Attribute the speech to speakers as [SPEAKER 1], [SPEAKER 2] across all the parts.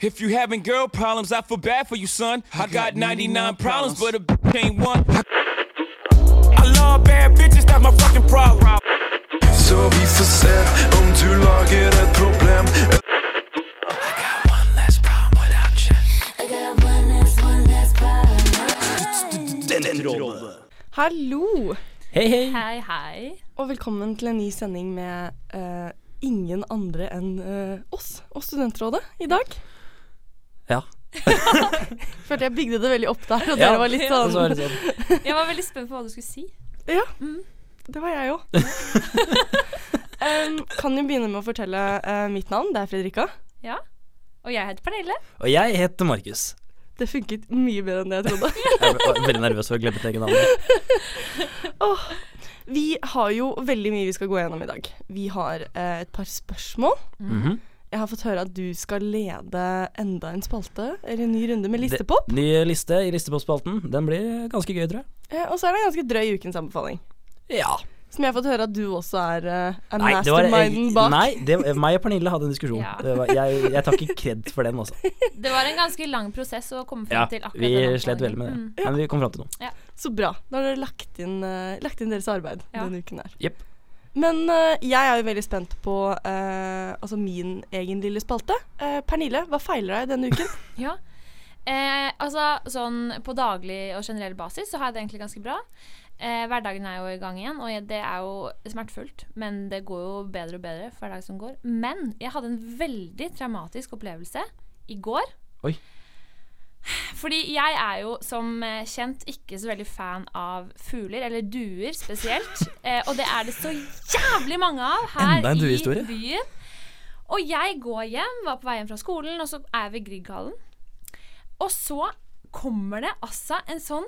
[SPEAKER 1] If you having girl problems, I feel bad for you, son. I got 99 problems, but a bitch ain't one. I love bad bitches, that's my fucking problem.
[SPEAKER 2] Så vi får se om du lager et problem.
[SPEAKER 3] Hallo,
[SPEAKER 4] Hei, hei.
[SPEAKER 5] Hei, hei.
[SPEAKER 3] og velkommen til en ny sending med eh, ingen andre enn eh, oss og Studentrådet i dag.
[SPEAKER 4] Ja.
[SPEAKER 3] Følte jeg bygde det veldig opp der, og
[SPEAKER 4] Ja,
[SPEAKER 3] dere var litt
[SPEAKER 4] Og så er
[SPEAKER 3] sånn
[SPEAKER 4] det sånn
[SPEAKER 5] Jeg var veldig spent på hva du skulle si.
[SPEAKER 3] Ja, det var jeg òg. um, kan jo begynne med å fortelle eh, mitt navn. Det er Fredrika.
[SPEAKER 5] Ja. Og jeg heter Pernille.
[SPEAKER 4] Og jeg heter Markus.
[SPEAKER 3] Det funket mye bedre enn det jeg trodde.
[SPEAKER 4] Jeg var veldig nervøs for å glemme mitt eget navn.
[SPEAKER 3] Vi har jo veldig mye vi skal gå gjennom i dag. Vi har eh, et par spørsmål.
[SPEAKER 4] Mhm.
[SPEAKER 3] Jeg har fått høre at du skal lede enda en spalte, eller en ny runde med listepop.
[SPEAKER 4] Det- Ny liste i Listepop-spalten. Den blir ganske gøy, tror jeg.
[SPEAKER 3] Eh, og så er det en ganske drøy ukens anbefaling.
[SPEAKER 4] Ja.
[SPEAKER 3] Som jeg har fått høre at du også er, eh, er
[SPEAKER 4] Nei, det var,
[SPEAKER 3] masterminden bak.
[SPEAKER 4] nei det, meg og Pernille hadde en diskusjon.
[SPEAKER 5] Ja.
[SPEAKER 4] Det var, jeg, jeg tar ikke kred for den, altså.
[SPEAKER 5] Det var en ganske lang prosess å komme frem
[SPEAKER 4] Ja,
[SPEAKER 5] til akkurat den
[SPEAKER 4] vi
[SPEAKER 5] oppgangen.
[SPEAKER 4] slet veldig med det.
[SPEAKER 5] Mm.
[SPEAKER 4] Men vi kom fram til noe.
[SPEAKER 3] Så bra. Da har dere lagt inn, eh, lagt inn deres arbeid
[SPEAKER 5] Ja.
[SPEAKER 3] denne uken her.
[SPEAKER 4] Jepp.
[SPEAKER 3] Men eh, jeg er jo veldig spent på eh, altså min egen lille spalte. Eh, Pernille, hva feiler deg denne uken?
[SPEAKER 5] Ja. Eh, altså, sånn på daglig og generell basis så har jeg det egentlig ganske bra. Eh, hverdagen er jo i gang igjen, og jeg- det er jo smertefullt. Men det går jo bedre og bedre for hver dag som går. Men jeg hadde en veldig traumatisk opplevelse i går.
[SPEAKER 4] Oi.
[SPEAKER 5] Fordi jeg er jo som eh, kjent ikke så veldig fan av fugler, eller duer spesielt. Eh, og det er det så jævlig mange av her
[SPEAKER 4] Enda en
[SPEAKER 5] i
[SPEAKER 4] duehistorie.
[SPEAKER 5] byen. Og jeg går hjem, var på vei hjem fra skolen, og så er vi i Grieghallen. Og så kommer det altså en sånn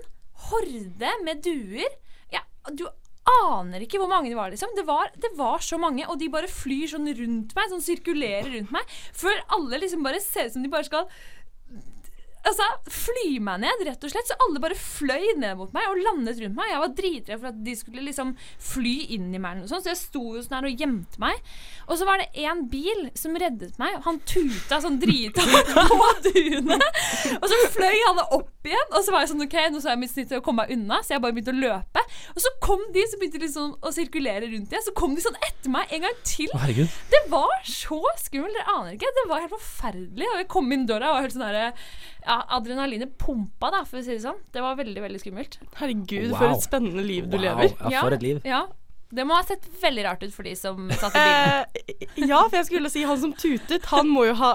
[SPEAKER 5] horde med duer. Ja, du aner ikke hvor mange det var, liksom. Det var, det var så mange, og de bare flyr sånn rundt meg, sånn sirkulerer rundt meg, før alle liksom bare ser ut som de bare skal Altså, fly meg ned, rett og slett. Så alle bare fløy ned mot meg og landet rundt meg. Jeg var dritredd for at de skulle liksom fly inn i meg, eller noe sånt, så jeg sto jo sånn her og gjemte meg. Og så var det én bil som reddet meg. og Han tuta sånn drithardt på duene. Og så fløy alle opp igjen. Og så var jeg sånn OK, nå så jeg mitt snitt til å komme meg unna, så jeg bare begynte å løpe. Og så kom de, så begynte de sånn å sirkulere rundt igjen. Så kom de sånn etter meg en gang til.
[SPEAKER 4] Å, herregud.
[SPEAKER 5] Det var så skummelt, dere aner ikke. Det var helt forferdelig. Og jeg kom inn døra og var helt sånn derre ja, Adrenalinet pumpa, da, for å si det sånn. Det var veldig, veldig skummelt.
[SPEAKER 3] Herregud,
[SPEAKER 4] Wow.
[SPEAKER 3] for et spennende liv du
[SPEAKER 4] Wow,
[SPEAKER 3] lever.
[SPEAKER 4] Ja, for et liv.
[SPEAKER 5] Ja. Det må ha sett veldig rart ut for de som satt i bilen.
[SPEAKER 3] Eh, ja, for jeg skulle si han som tutet, han må jo ha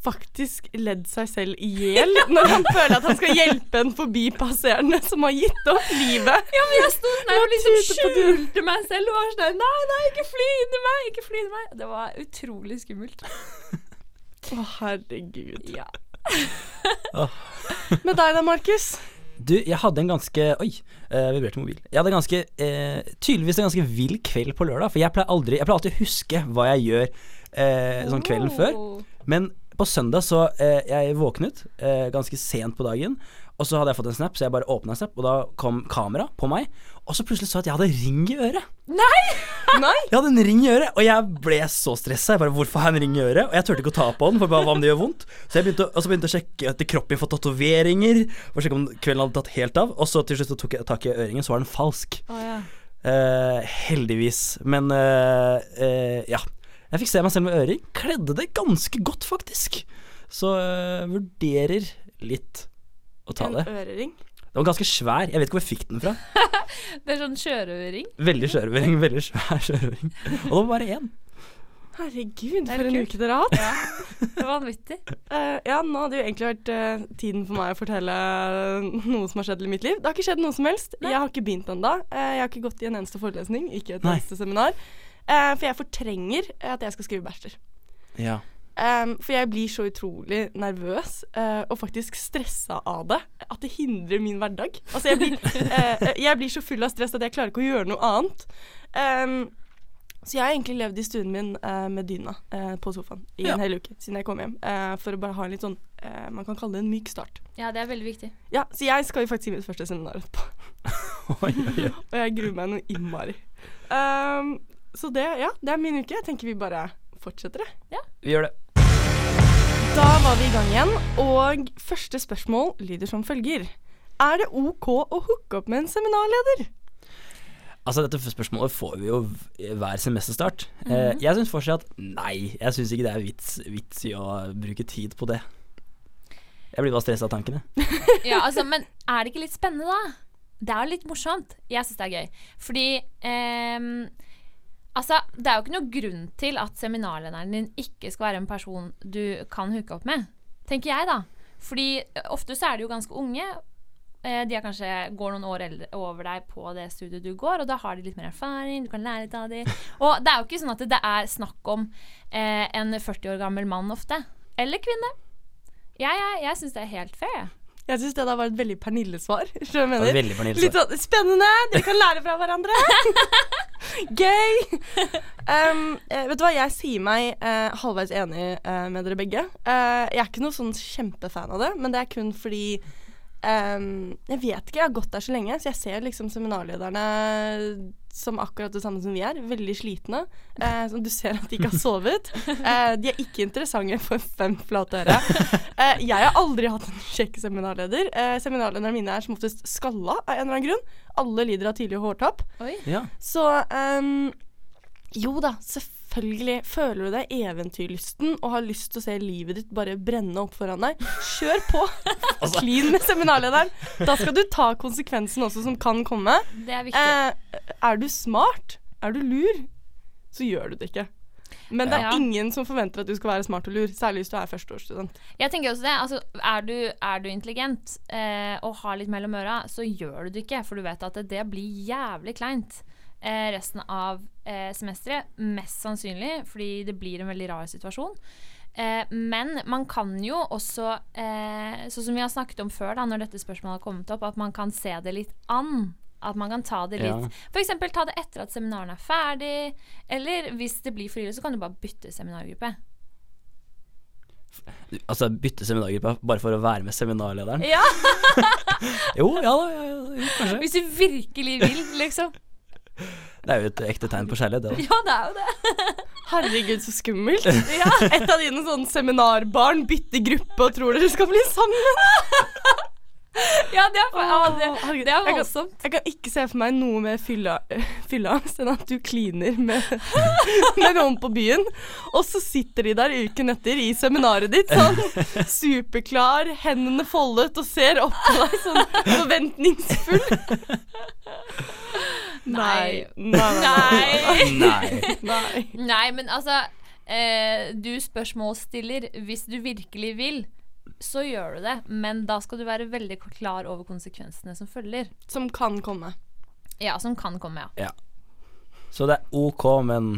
[SPEAKER 3] faktisk ledd seg selv i hjel når han føler at han skal hjelpe en forbipasserende som har gitt opp livet.
[SPEAKER 5] Ja, men jeg sto sånn her og liksom
[SPEAKER 3] tute på døren.
[SPEAKER 5] skjulte meg selv og var sånn her, Nei, nei, ikke fly inn i meg! Ikke fly inn i meg! Det var utrolig skummelt.
[SPEAKER 3] Å, herregud.
[SPEAKER 5] Ja.
[SPEAKER 3] Med deg da, Markus.
[SPEAKER 4] Du, jeg hadde en ganske Oi, eh, vibrerte mobil. Jeg hadde en ganske, eh, tydeligvis en ganske vill kveld på lørdag. For jeg pleier, aldri, jeg pleier alltid å huske hva jeg gjør eh, sånn kvelden før.
[SPEAKER 5] Oh.
[SPEAKER 4] Men på søndag så eh, Jeg våknet eh, ganske sent på dagen. Og så hadde jeg fått en snap, så jeg bare åpna snap, og da kom kamera på meg. Og så plutselig så jeg at jeg hadde en ring i øret.
[SPEAKER 3] Nei.
[SPEAKER 4] Jeg hadde en ring i øret, og jeg ble så stressa. Jeg bare, hvorfor har jeg en ring i øret? Og jeg turte ikke å ta på den, for bare, hva om det gjør vondt? Så jeg begynte, å- og så begynte jeg å sjekke etter kroppen min for tatoveringer. For å sjekke om kvelden hadde tatt helt av. Og så til slutt så tok jeg tak i øringen, så var den falsk. Eh, heldigvis. Men eh, eh, ja. Jeg fikk se meg selv med øring. Kledde det ganske godt, faktisk. Så eh, vurderer litt å ta
[SPEAKER 3] En
[SPEAKER 4] det.
[SPEAKER 3] ørering.
[SPEAKER 4] Den var ganske svær. Jeg vet ikke hvor jeg fikk den fra.
[SPEAKER 5] Det er sånn sjørøvering.
[SPEAKER 4] Veldig skjørøvering. Veldig svær skjørøvering. Og det var bare én.
[SPEAKER 3] Herregud,
[SPEAKER 5] er
[SPEAKER 3] for en
[SPEAKER 5] kult.
[SPEAKER 3] uke dere har hatt.
[SPEAKER 5] Ja. Det var vanvittig.
[SPEAKER 3] Eh, ja, nå hadde jo egentlig vært eh, tiden for meg å fortelle eh, noe som har skjedd i mitt liv. Det har ikke skjedd noe som helst. Jeg har ikke begynt ennå. jeg har ikke gått i en eneste forelesning, ikke et
[SPEAKER 4] Nei.
[SPEAKER 3] eneste seminar. Eh, for jeg fortrenger at jeg skal skrive bachelor.
[SPEAKER 4] Ja.
[SPEAKER 3] Em, Ehm, for jeg blir så utrolig nervøs eh, og faktisk stressa av det at det hindrer min hverdag. Altså, jeg blir, eh, jeg blir så full av stress at jeg klarer ikke å gjøre noe annet. Em, så jeg har egentlig levd i stuen min eh, med dyna eh, på sofaen i
[SPEAKER 4] Ja.
[SPEAKER 3] en hel uke siden jeg kom hjem. eh, for å bare ha en litt sånn eh, Man kan kalle det en myk start.
[SPEAKER 5] Ja, det er veldig viktig.
[SPEAKER 3] Ja, Så jeg skal jo faktisk i mitt første seminar etterpå.
[SPEAKER 4] Oi, oi, oi.
[SPEAKER 3] Og jeg gruer meg noe innmari. Ehm, Em, så det, ja, det er min uke. Jeg tenker vi bare fortsetter, jeg.
[SPEAKER 4] Vi gjør det.
[SPEAKER 3] Da var vi i gang igjen, og første spørsmål lyder som følger. Er det OK å hooke opp med en seminarleder?
[SPEAKER 4] Altså Dette spørsmålet får vi jo v- hver semesterstart. Eh, Jeg syns fortsatt at nei, jeg syns ikke det er vits, vits i å bruke tid på det. Jeg blir bare stressa av tankene.
[SPEAKER 5] Ja, altså, men er det ikke litt spennende, da? Det er jo litt morsomt. Jeg syns det er gøy. Fordi ehm, Altså, det er jo ikke noe grunn til at seminarlederen din ikke skal være en person du kan hooke opp med. Tenker jeg, da. Fordi eh, ofte så er de jo ganske unge. Eh, De er kanskje går noen år eldre over deg på det studiet du går, og da har de litt mer erfaring, du kan lære litt av dem. Og det er jo ikke sånn at det er snakk om eh, en 40 år gammel mann ofte. Eller kvinne. Jeg, jeg, jeg syns det er helt fair. jeg.
[SPEAKER 3] Jeg syns det der var et veldig Pernille-svar. Skjønner du
[SPEAKER 4] Det
[SPEAKER 3] hva jeg
[SPEAKER 4] var
[SPEAKER 3] mener?
[SPEAKER 4] veldig fornøyelig.
[SPEAKER 3] Litt sånn spennende, dere kan lære fra hverandre. Gøy! Um, eh, vet du hva, jeg sier meg eh, halvveis enig eh, med dere begge. Eh, jeg er ikke noe sånn kjempefan av det, men det er kun fordi um, Jeg vet ikke, jeg har gått der så lenge, så jeg ser liksom seminarlederne som akkurat det samme som vi er, veldig slitne. Eh, som du ser at de ikke har sovet. Eh, de er ikke interessante for fem flate øre. Eh, jeg har aldri hatt en kjekk seminarleder. Eh, seminarlederne mine er som oftest skalla av en eller annen grunn. Alle lider av tidlig hårtapp.
[SPEAKER 4] Ja.
[SPEAKER 3] Så ehm, jo da, selvfølgelig. Føler du deg eventyrlysten og har lyst til å se livet ditt bare brenne opp foran deg, kjør på! Klin med seminarlederen. Da skal du ta konsekvensen også som kan komme.
[SPEAKER 5] Det er viktig.
[SPEAKER 3] Eh, er du smart, er du lur, så gjør du det ikke. Men det er
[SPEAKER 5] Ja.
[SPEAKER 3] ingen som forventer at du skal være smart og lur, særlig hvis du er førsteårsstudent.
[SPEAKER 5] Jeg tenker også det. Altså, er, du, er du intelligent eh, og har litt mellom øra, så gjør du det ikke. For du vet at det, det blir jævlig kleint eh, resten av eh, semesteret. Mest sannsynlig, fordi det blir en veldig rar situasjon. Eh, men man kan jo også, eh, sånn som vi har snakket om før, da, når dette spørsmålet har kommet opp, at man kan se det litt an. At man kan ta det
[SPEAKER 4] Ja.
[SPEAKER 5] litt For F.eks. ta det etter at seminarene er ferdig. Eller hvis det blir for ille, så kan du bare bytte seminargruppe.
[SPEAKER 4] Altså bytte seminargruppe bare for å være med seminarlederen.
[SPEAKER 5] Ja
[SPEAKER 4] Jo, ja da, ja, ja, jo, kanskje.
[SPEAKER 5] Hvis du virkelig vil, liksom.
[SPEAKER 4] Det er jo et ekte tegn på kjærlighet, det da.
[SPEAKER 5] Ja, det er jo det.
[SPEAKER 3] Herregud, så skummelt. Et av dine sånne seminarbarn bytter gruppe og tror dere skal bli sammen.
[SPEAKER 5] Ja, det er, ja, det,
[SPEAKER 3] herregud,
[SPEAKER 5] det er
[SPEAKER 3] jeg kan-
[SPEAKER 5] voldsomt.
[SPEAKER 3] Jeg kan ikke se for meg noe mer fylla- fylleangst enn at du kliner med, med noen på byen, og så sitter de der uken etter i seminaret ditt, sånn superklar, hendene foldet, og ser opp på deg sånn forventningsfull. Nei. Nei.
[SPEAKER 5] Nei.
[SPEAKER 4] Nei.
[SPEAKER 3] Nei.
[SPEAKER 5] Nei, men altså eh, Du spørsmålsstiller. Hvis du virkelig vil, så gjør du det. Men da skal du være veldig klar over konsekvensene som følger.
[SPEAKER 3] Som kan komme.
[SPEAKER 5] Ja, som kan komme, ja.
[SPEAKER 4] Så det er ok, men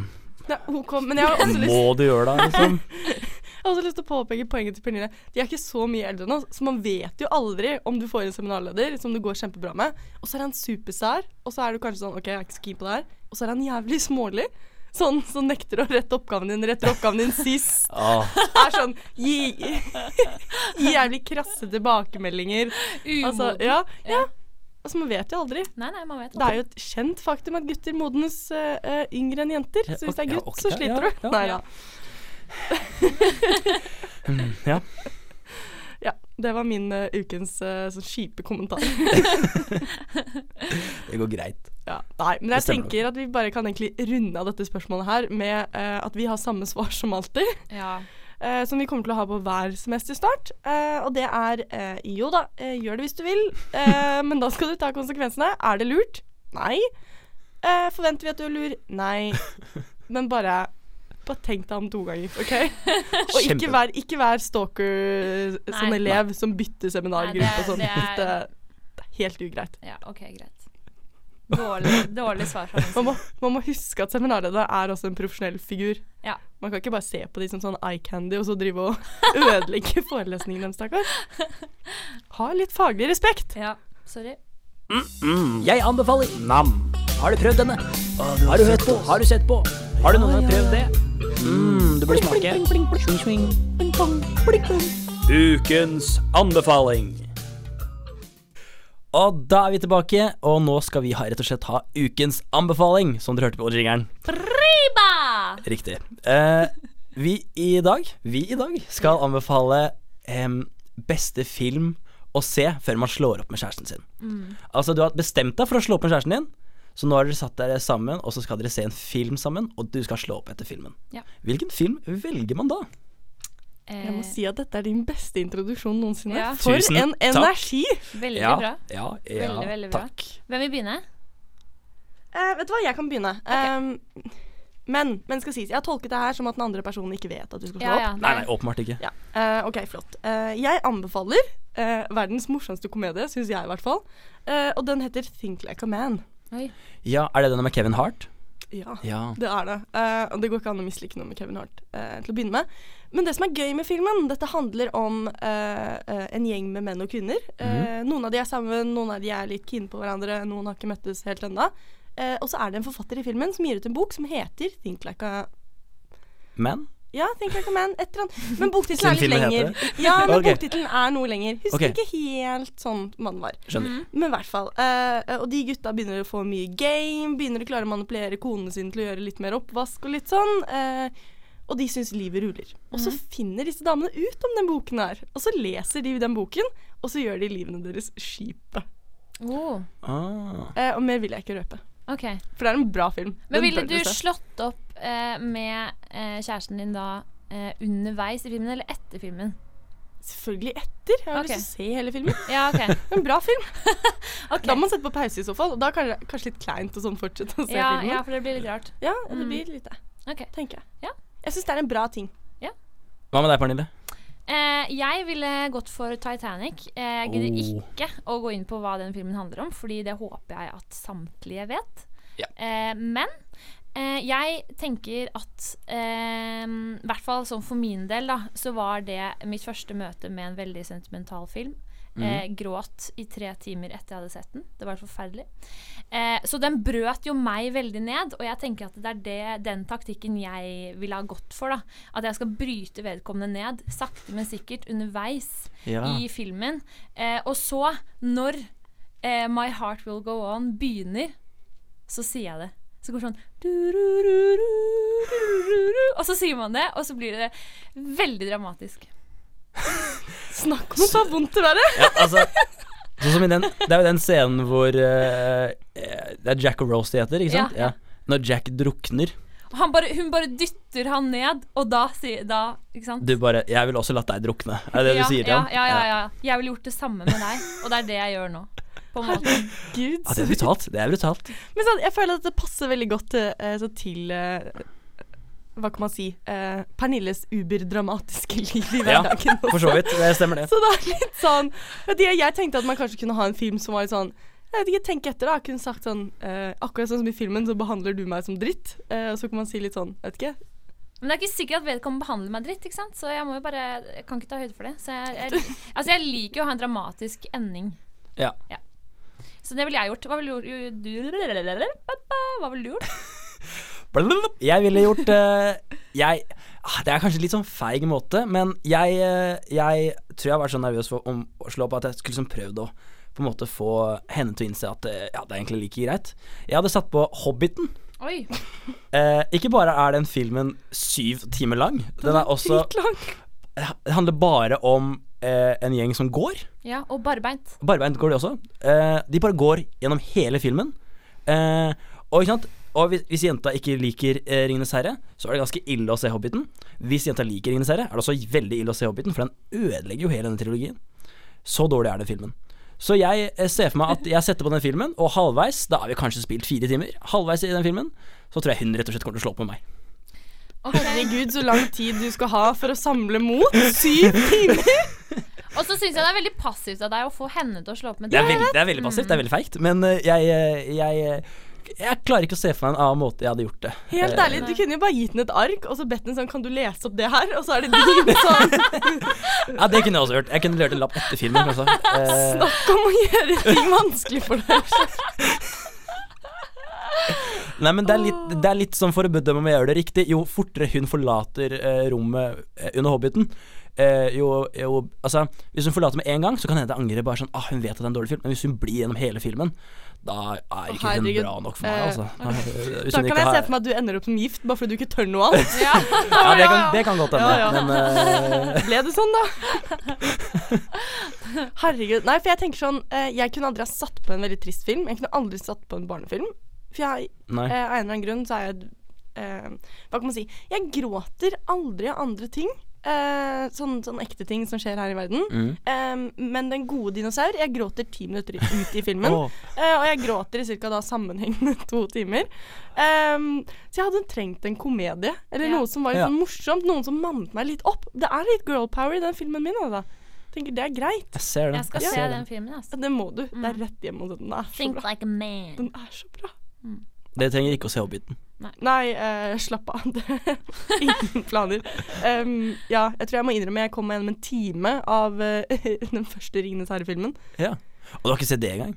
[SPEAKER 3] Det er OK, men jeg har også lyst
[SPEAKER 4] må du gjøre det, liksom?
[SPEAKER 3] Jeg har også lyst til å påpeke poenget til Pernille. De er ikke så mye eldre nå, så man vet jo aldri om du får en seminarleder som du går kjempebra med, og så er han supersær, og så er du kanskje sånn OK, jeg er ikke så keen på det her, og så er han jævlig smålig. Sånn som nekter å rette oppgaven din, retter oppgaven din sist.
[SPEAKER 4] Åh,
[SPEAKER 3] Er sånn gi, gi jævlig krasse tilbakemeldinger.
[SPEAKER 5] Umoden.
[SPEAKER 3] Altså, ja, ja. Altså, man vet jo aldri.
[SPEAKER 5] Nei, nei, man vet
[SPEAKER 3] Det er jo et kjent faktum at gutter modnes eh, eh, yngre enn jenter. Så hvis det er
[SPEAKER 4] Ja,
[SPEAKER 3] gutt,
[SPEAKER 4] ok,
[SPEAKER 3] så
[SPEAKER 4] ja,
[SPEAKER 3] sliter du.
[SPEAKER 4] ja,
[SPEAKER 3] Nei
[SPEAKER 5] ja.
[SPEAKER 3] da.
[SPEAKER 4] Mm, ja.
[SPEAKER 3] Ja, det var min eh, ukens eh, sånn kjipe kommentar.
[SPEAKER 4] Det går greit.
[SPEAKER 3] Ja. Nei, men jeg
[SPEAKER 4] Det stemmer
[SPEAKER 3] tenker at vi bare kan egentlig runde av dette spørsmålet her med eh, at vi har samme svar som alltid,
[SPEAKER 5] Ja.
[SPEAKER 3] eh, som vi kommer til å ha på hver semesterstart. Eh, og det er eh, jo da, eh, gjør det hvis du vil, eh, men da skal du ta konsekvensene. Er det lurt? Nei. Eh, forventer vi at du er lur? Nei. Men bare bare tenk deg om to ganger, OK? Og ikke
[SPEAKER 4] Kjempe-
[SPEAKER 3] vær, ikke vær stalker eh, som
[SPEAKER 5] Nei.
[SPEAKER 3] elev som bytter
[SPEAKER 5] Nei, det
[SPEAKER 3] seminargruppe
[SPEAKER 5] er-
[SPEAKER 3] og sånn.
[SPEAKER 5] det er-
[SPEAKER 3] Det, det er helt ugreit.
[SPEAKER 5] ja OK, greit. Dårlig, dårlig svar fra min
[SPEAKER 3] Man
[SPEAKER 5] side.
[SPEAKER 3] må, man må huske at seminarleder er også en profesjonell figur.
[SPEAKER 5] Ja.
[SPEAKER 3] Man kan ikke bare se på de som sånn eye candy og så drive og ødelegge forelesningen deres, stakkar. Ha litt faglig respekt.
[SPEAKER 5] Ja, sorry.
[SPEAKER 6] Jeg anbefaler Nam. Har du prøvd denne? Har Ah, du hørt på? Har du sett på? Har du noen gang prøvd det? Mm, du burde smake. Swing, swing.
[SPEAKER 4] Ukens anbefaling. Og da er vi tilbake, og nå skal vi ha, rett og slett ha ukens anbefaling, som dere hørte på jingeren.
[SPEAKER 5] Riba!
[SPEAKER 4] Riktig. Eh, Vi i dag Vi i dag skal anbefale em, beste film å se før man slår opp med kjæresten sin.
[SPEAKER 5] Mm.
[SPEAKER 4] Altså, du har bestemt deg for å slå opp med kjæresten din, så nå har dere satt dere sammen, og så skal dere se en film sammen, og du skal slå opp etter filmen.
[SPEAKER 5] Ja.
[SPEAKER 4] Hvilken film velger man da?
[SPEAKER 3] Jeg må
[SPEAKER 5] Eh,
[SPEAKER 3] si at dette er din beste introduksjon noensinne.
[SPEAKER 5] Ja.
[SPEAKER 3] For
[SPEAKER 4] Tusen
[SPEAKER 3] en
[SPEAKER 4] takk.
[SPEAKER 3] energi!
[SPEAKER 5] Eh, veldig bra.
[SPEAKER 4] ja,
[SPEAKER 5] Veldig, veldig bra.
[SPEAKER 4] takk.
[SPEAKER 5] Hvem vil begynne?
[SPEAKER 3] Eh, vet du hva, jeg kan begynne. Eh, men, men skal sies, jeg har tolket det her som at den andre personen ikke vet at du skal slå
[SPEAKER 5] Ja, ja.
[SPEAKER 3] opp.
[SPEAKER 4] Nei, nei, åpenbart ikke.
[SPEAKER 3] Ja. Eh, ok, flott. Eh, jeg anbefaler eh, verdens morsomste komedie, syns jeg i hvert fall. Eh, og den heter Think Like a Man.
[SPEAKER 5] Oi.
[SPEAKER 4] Ja, Er det denne med Kevin Hart?
[SPEAKER 3] Ja,
[SPEAKER 4] Ja.
[SPEAKER 3] det er det. Eh, og det går ikke an å mislike noe med Kevin Hart eh, til å begynne med. Men det som er gøy med filmen, dette handler om eh, eh, en gjeng med menn og kvinner.
[SPEAKER 4] Mhm.
[SPEAKER 3] Eh, noen av de er sammen, noen av de er litt kine på hverandre, noen har ikke møttes helt ennå. Eh, og så er det en forfatter i filmen som gir ut en bok som heter Think Like a
[SPEAKER 4] Men?
[SPEAKER 3] Ja, Think Like a Man. Et eller annet. Men boktittelen er litt
[SPEAKER 4] Siden filmen
[SPEAKER 3] lenger.
[SPEAKER 4] heter
[SPEAKER 3] Ja, men
[SPEAKER 4] Ok.
[SPEAKER 3] boktittelen er noe lenger.
[SPEAKER 4] Ok.
[SPEAKER 3] Husker ikke helt sånn man var.
[SPEAKER 5] Mm.
[SPEAKER 4] Skjønner.
[SPEAKER 3] Men i hvert fall. eh, og de gutta begynner å få mye game, begynner å klare å manipulere konene sine til å gjøre litt mer oppvask og litt sånn. eh, og de syns livet ruller. Og
[SPEAKER 5] Mhm.
[SPEAKER 3] så finner disse damene ut om den boken her. Og så leser de den boken, og så gjør de livene deres kjipe.
[SPEAKER 5] Oh,
[SPEAKER 4] Ah.
[SPEAKER 3] Eh, og mer vil jeg ikke røpe.
[SPEAKER 5] ok.
[SPEAKER 3] For det er en bra film.
[SPEAKER 5] Men
[SPEAKER 3] Den
[SPEAKER 5] ville
[SPEAKER 3] bør
[SPEAKER 5] du
[SPEAKER 3] se.
[SPEAKER 5] slått opp eh, med eh, kjæresten din da eh, underveis i filmen, eller etter filmen?
[SPEAKER 3] Selvfølgelig etter. Jeg har
[SPEAKER 5] Ok.
[SPEAKER 3] lyst til å se hele filmen.
[SPEAKER 5] Ja, ok.
[SPEAKER 3] En bra film.
[SPEAKER 5] Ok.
[SPEAKER 3] Da må man sette på pause i så fall, og da er det kanskje litt kleint å sånn fortsette å se
[SPEAKER 5] ja,
[SPEAKER 3] filmen.
[SPEAKER 5] ja, for det blir litt rart.
[SPEAKER 3] Ja, det blir litt det,
[SPEAKER 5] Ok.
[SPEAKER 3] tenker jeg.
[SPEAKER 5] Ja.
[SPEAKER 3] Jeg syns det er en bra ting.
[SPEAKER 4] Hva med deg, Pernille?
[SPEAKER 5] Eh, jeg ville gått for Titanic. Eh, jeg gidder
[SPEAKER 4] Oh.
[SPEAKER 5] ikke å gå inn på hva den filmen handler om, fordi det håper jeg at samtlige vet.
[SPEAKER 4] Ja.
[SPEAKER 5] Eh, men eh, jeg tenker at eh, I hvert fall sånn for min del, da, så var det mitt første møte med en veldig sentimental film. Eh,
[SPEAKER 4] Mhm.
[SPEAKER 5] gråt i tre timer etter jeg hadde sett den. Det var helt forferdelig. Eh, så den brøt jo meg veldig ned, og jeg tenker at det er det, den taktikken jeg ville ha gått for. da. At jeg skal bryte vedkommende ned, sakte, men sikkert, underveis
[SPEAKER 4] Ja.
[SPEAKER 5] i filmen. Eh, og så, når eh, My Heart Will Go On begynner, så sier jeg det. Så går det sånn du-ru-ru-ru, du-ru-ru-ru, Og så sier man det, og så blir det veldig dramatisk.
[SPEAKER 3] Snakk om å ta vondt til været!
[SPEAKER 4] Ja, altså Sånn som i den Det er jo den scenen hvor eh, eh, Det er Jack og Rose de heter, ikke sant?
[SPEAKER 5] Ja.
[SPEAKER 4] Ja. Når Jack drukner
[SPEAKER 5] Og han bare, hun bare dytter han ned, og da sier da, ikke sant?
[SPEAKER 4] Du bare 'Jeg ville også latt deg drukne'. Er det det
[SPEAKER 5] ja,
[SPEAKER 4] du sier til
[SPEAKER 5] ja,
[SPEAKER 4] ham?
[SPEAKER 5] ja, ja, ja. Jeg ville gjort det samme med deg, og det er det jeg gjør nå. På en måte.
[SPEAKER 3] Gud.
[SPEAKER 4] Ja, Ah, det er sånn. brutalt. Det er brutalt.
[SPEAKER 3] Men sånn, jeg føler at det passer veldig godt eh, så til eh, Hva kan man si eh, Pernilles uberdramatiske liv i
[SPEAKER 4] Ja,
[SPEAKER 3] hverdagen.
[SPEAKER 4] for så vidt. Det stemmer, det.
[SPEAKER 3] Så det er litt sånn at jeg, jeg tenkte at man kanskje kunne ha en film som var litt sånn jeg vet ikke, tenk etter da, kunne sagt sånn eh, Akkurat sånn som i filmen, så behandler du meg som dritt. Eh, og så kan man si litt sånn, vet ikke
[SPEAKER 5] Men det er ikke sikkert at vedkommende behandler meg dritt, ikke sant? så jeg må jo bare, jeg kan ikke ta høyde for det. Så jeg, jeg, altså jeg liker jo å ha en dramatisk ending.
[SPEAKER 4] Ja.
[SPEAKER 5] Så det ville jeg gjort. Hva ville du gjort? Hva ville du gjort?
[SPEAKER 4] Blablabla. Jeg ville gjort eh, Jeg ah, Det er kanskje litt sånn feig måte, men jeg, eh, jeg tror jeg har vært så nervøs for om å slå opp at jeg skulle liksom prøvd å på en måte få henne til å innse at eh, ja, det er egentlig like greit. Jeg hadde satt på Hobbiten.
[SPEAKER 5] Oi.
[SPEAKER 4] Eh, ikke bare er den filmen syv timer lang, den er også
[SPEAKER 3] Dritlang.
[SPEAKER 4] Det handler bare om eh, en gjeng som går.
[SPEAKER 5] Ja, og barbeint.
[SPEAKER 4] Barbeint går de også. Eh, de bare går gjennom hele filmen. Eh, og ikke sant og hvis, hvis jenta ikke liker eh, 'Ringenes herre', så er det ganske ille å se 'Hobbiten'. Hvis jenta liker 'Ringenes herre', er det også veldig ille å se 'Hobbiten', for den ødelegger jo hele denne trilogien. Så dårlig er den filmen. Så jeg eh, ser for meg at jeg setter på den filmen, og halvveis, da har vi kanskje spilt fire timer, halvveis i den filmen, så tror jeg hun rett og slett kommer til å slå opp med meg.
[SPEAKER 5] Ok.
[SPEAKER 3] Herregud, så lang tid du skal ha for å samle mot. Syv timer!
[SPEAKER 5] Og så syns jeg det er veldig passivt av deg å få henne til å slå opp med
[SPEAKER 4] Det er,
[SPEAKER 5] deg.
[SPEAKER 4] veldig, det er veldig passivt, det er veldig feigt, men eh, jeg, eh, jeg, eh, jeg klarer ikke å se for meg en annen måte jeg hadde gjort det. Eh,
[SPEAKER 3] Helt ærlig, du kunne jo bare gitt den et ark, og så bedt den sånn Kan du lese opp det her? Og så er det din sånn
[SPEAKER 4] Ja, det kunne jeg også gjort. Jeg kunne levert en lapp etter filmen. Kanskje. Eh,
[SPEAKER 3] Snakk om å gjøre ting vanskelig for deg.
[SPEAKER 4] nei, men det er, litt, det er litt sånn for å bedømme om jeg gjør det riktig. Jo fortere hun forlater eh, rommet eh, under Hobbiten, eh, jo, jo Altså, hvis hun forlater med en gang, så kan hende jeg angrer bare sånn ah, hun vet at det er en dårlig film. Men hvis hun blir gjennom hele filmen, da er ikke hun
[SPEAKER 3] herregud.
[SPEAKER 4] bra nok for meg,
[SPEAKER 3] Eh,
[SPEAKER 4] altså. Nei, hvis
[SPEAKER 3] Da
[SPEAKER 4] hun
[SPEAKER 3] kan
[SPEAKER 4] ikke
[SPEAKER 3] jeg
[SPEAKER 4] har-
[SPEAKER 3] se for meg at du ender opp som gift bare fordi du ikke tør noe annet.
[SPEAKER 5] Ja.
[SPEAKER 4] Ja, det kan, det kan godt hende.
[SPEAKER 3] Ja, ja.
[SPEAKER 4] Men eh,
[SPEAKER 3] Ble det sånn, da? Herregud. Nei, for jeg tenker sånn eh, Jeg kunne aldri ha satt på en veldig trist film. Jeg kunne aldri satt på en barnefilm. For jeg,
[SPEAKER 4] nei.
[SPEAKER 3] eh, av en eller annen grunn så er jeg eh, Hva kan man si Jeg gråter aldri av andre ting. Eh, sånn, sånn ekte ting som skjer her i verden.
[SPEAKER 4] Mm.
[SPEAKER 3] Eh, men Den gode dinosaur Jeg gråter ti minutter i- ut i filmen.
[SPEAKER 4] Åh.
[SPEAKER 3] Eh, og jeg gråter i cirka da sammenhengende to timer. Ehm, så jeg hadde trengt en komedie, eller
[SPEAKER 5] Ja.
[SPEAKER 3] noe som var litt
[SPEAKER 4] Ja.
[SPEAKER 3] sånn morsomt. Noen som mannet meg litt opp. Det er litt girl power i den filmen min, altså. Tenker det er greit.
[SPEAKER 4] Jeg ser den.
[SPEAKER 5] Jeg skal
[SPEAKER 4] jeg
[SPEAKER 5] se
[SPEAKER 4] ser den.
[SPEAKER 5] den filmen, altså.
[SPEAKER 3] Det må du. Det er rett hjem og den er så
[SPEAKER 5] Think
[SPEAKER 3] bra.
[SPEAKER 5] like a man.
[SPEAKER 3] Den er så bra.
[SPEAKER 4] Dere trenger ikke å se Hobbiten.
[SPEAKER 3] Nei, eh, slapp av. Det- Ingen planer. Ehm, ja, jeg tror jeg må innrømme jeg kom meg gjennom en time av eh, den første 'Ringenes herre'-filmen.
[SPEAKER 4] Ja. Og du har ikke sett det engang?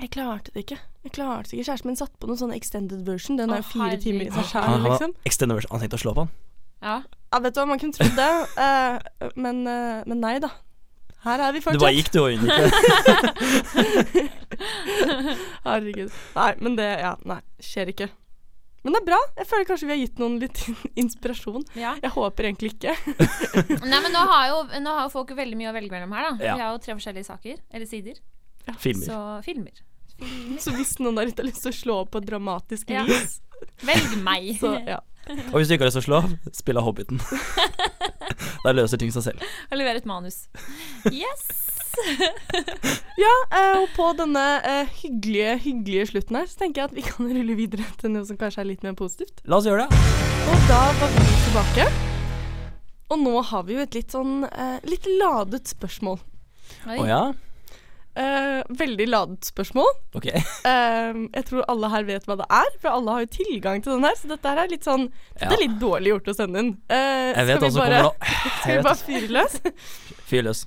[SPEAKER 3] Jeg klarte det ikke. Jeg klarte det ikke. Kjæresten min satte på noen sånne extended version. Den er
[SPEAKER 5] Å,
[SPEAKER 3] jo fire timer i seg
[SPEAKER 5] herregud.
[SPEAKER 3] sjæl,
[SPEAKER 4] Han, han,
[SPEAKER 3] liksom.
[SPEAKER 4] har extended version. han tenkte å slå på han.
[SPEAKER 5] Ja.
[SPEAKER 3] Ja, vet du hva, man kunne trodd det, eh, men, eh, men nei da. Her er vi
[SPEAKER 4] Du bare
[SPEAKER 3] fortsatt.
[SPEAKER 4] gikk, du, og unngikk det.
[SPEAKER 3] Herregud. Nei, men det ja, nei, skjer ikke. Men det er bra. Jeg føler kanskje vi har gitt noen litt inspirasjon.
[SPEAKER 5] Ja.
[SPEAKER 3] Jeg håper egentlig ikke.
[SPEAKER 5] Nei, men nå har, jo, nå har jo folk veldig mye å velge mellom her, da.
[SPEAKER 4] Ja.
[SPEAKER 5] Vi har jo tre forskjellige saker, eller sider.
[SPEAKER 4] Filmer.
[SPEAKER 5] Så filmer.
[SPEAKER 3] Så hvis noen der ute har lyst til å slå opp på dramatisk
[SPEAKER 5] Ja.
[SPEAKER 3] vis,
[SPEAKER 5] Velg meg.
[SPEAKER 3] så ja.
[SPEAKER 4] Og hvis du ikke har lyst til å slå av, spill av Hobbiten. da løser ting seg selv.
[SPEAKER 5] Og lever et manus. Yes!
[SPEAKER 3] Ja, eh, og på denne eh, hyggelige, hyggelige slutten her, så tenker jeg at vi kan rulle videre til noe som kanskje er litt mer positivt.
[SPEAKER 4] La oss gjøre det.
[SPEAKER 3] Og da var vi tilbake. Og nå har vi jo et litt sånn eh, litt ladet spørsmål.
[SPEAKER 5] Oi.
[SPEAKER 4] Å ja?
[SPEAKER 3] Eh, veldig ladet spørsmål.
[SPEAKER 4] Ok.
[SPEAKER 3] Eh, jeg tror alle her vet hva det er, for alle har jo tilgang til den her. Så dette her er litt sånn Dette er
[SPEAKER 4] Ja.
[SPEAKER 3] litt dårlig gjort å sende inn. Eh,
[SPEAKER 4] Jeg vet hva
[SPEAKER 3] skal, vi
[SPEAKER 4] som
[SPEAKER 3] bare,
[SPEAKER 4] kommer nå.
[SPEAKER 3] skal
[SPEAKER 4] Jeg
[SPEAKER 3] vi
[SPEAKER 4] vet.
[SPEAKER 3] bare fyre løs?
[SPEAKER 4] Fyr løs.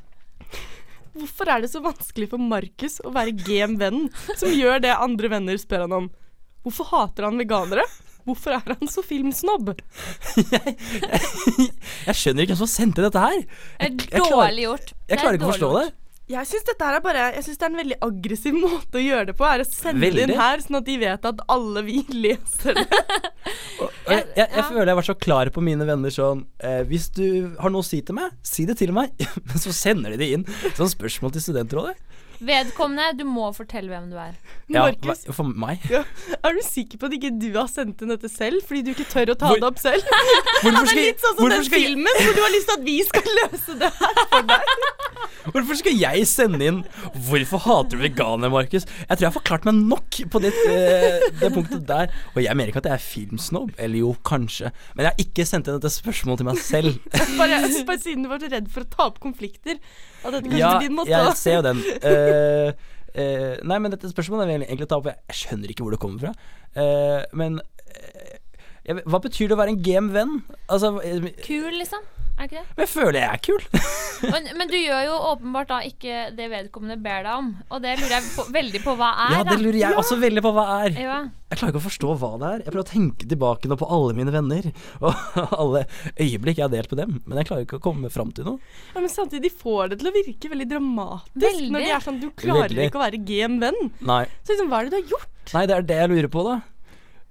[SPEAKER 3] Hvorfor er det så vanskelig for Markus å være GM-vennen som gjør det andre venner spør han om? Hvorfor hater han veganere? Hvorfor er han så filmsnobb?
[SPEAKER 4] Jeg skjønner ikke hvem som sendte dette her.
[SPEAKER 5] Det er
[SPEAKER 4] Jeg- jeg klarer-
[SPEAKER 5] dårlig gjort.
[SPEAKER 4] Jeg klarer ikke å forstå det.
[SPEAKER 3] Jeg syns dette her er bare Jeg synes det er en veldig aggressiv måte å gjøre det på. Er å sende det
[SPEAKER 4] Veldig.
[SPEAKER 3] inn her, sånn at de vet at alle vi leser det.
[SPEAKER 4] Og Jeg, jeg, jeg
[SPEAKER 5] Ja.
[SPEAKER 4] føler jeg har vært så klar på mine venner sånn eh, Hvis du har noe å si til meg, si det til meg. Men så sender de det inn som spørsmål til studentrådet.
[SPEAKER 5] Vedkommende, du må fortelle hvem du er.
[SPEAKER 4] Ja,
[SPEAKER 3] Markus,
[SPEAKER 4] hva- for meg.
[SPEAKER 3] ja, er du sikker på at ikke du har sendt inn dette selv, fordi du ikke tør å ta
[SPEAKER 4] Hvor-
[SPEAKER 3] det opp selv?
[SPEAKER 4] Hvorfor
[SPEAKER 3] Det er litt sånn som den
[SPEAKER 4] skal, jeg-
[SPEAKER 3] filmen, hvor du har lyst til at vi skal løse det her.
[SPEAKER 4] hvorfor skal jeg sende inn 'Hvorfor hater du veganere', Markus? Jeg tror jeg har forklart meg nok på det, eh, det punktet der. Og jeg mener ikke at jeg er filmsnobb. Eller jo, kanskje. Men jeg har ikke sendt inn dette spørsmålet til meg selv.
[SPEAKER 3] Bare, bare siden du var så redd for å ta opp konflikter. At dette kanskje
[SPEAKER 4] Ja,
[SPEAKER 3] din måte
[SPEAKER 4] jeg
[SPEAKER 3] å-
[SPEAKER 4] ser jo den. Eh, eh, nei, men dette spørsmålet vil jeg egentlig ta opp. for Jeg skjønner ikke hvor det kommer fra. Eh, men eh, jeg, vet- hva betyr det å være en game venn? Altså, eh, men
[SPEAKER 5] Kul, liksom. Er ikke det?
[SPEAKER 4] jeg føler jeg er kul.
[SPEAKER 5] Men, men du gjør jo åpenbart da ikke det vedkommende ber deg om, og det lurer jeg på, veldig på hva er,
[SPEAKER 4] Ja, det lurer jeg også veldig på hva
[SPEAKER 5] da.
[SPEAKER 4] er.
[SPEAKER 5] Ja.
[SPEAKER 4] Jeg klarer ikke å forstå hva det er. Jeg prøver å tenke tilbake nå på alle mine venner og alle øyeblikk jeg har delt med dem, men jeg klarer ikke å komme fram til noe.
[SPEAKER 3] Ja, men samtidig de får det til å virke veldig dramatisk
[SPEAKER 5] Veldig.
[SPEAKER 3] når de er sånn Du klarer
[SPEAKER 4] Veldig.
[SPEAKER 3] ikke å være GM-venn.
[SPEAKER 4] Nei,
[SPEAKER 3] Så liksom, hva er det du har gjort?
[SPEAKER 4] Nei det er det jeg lurer på, da.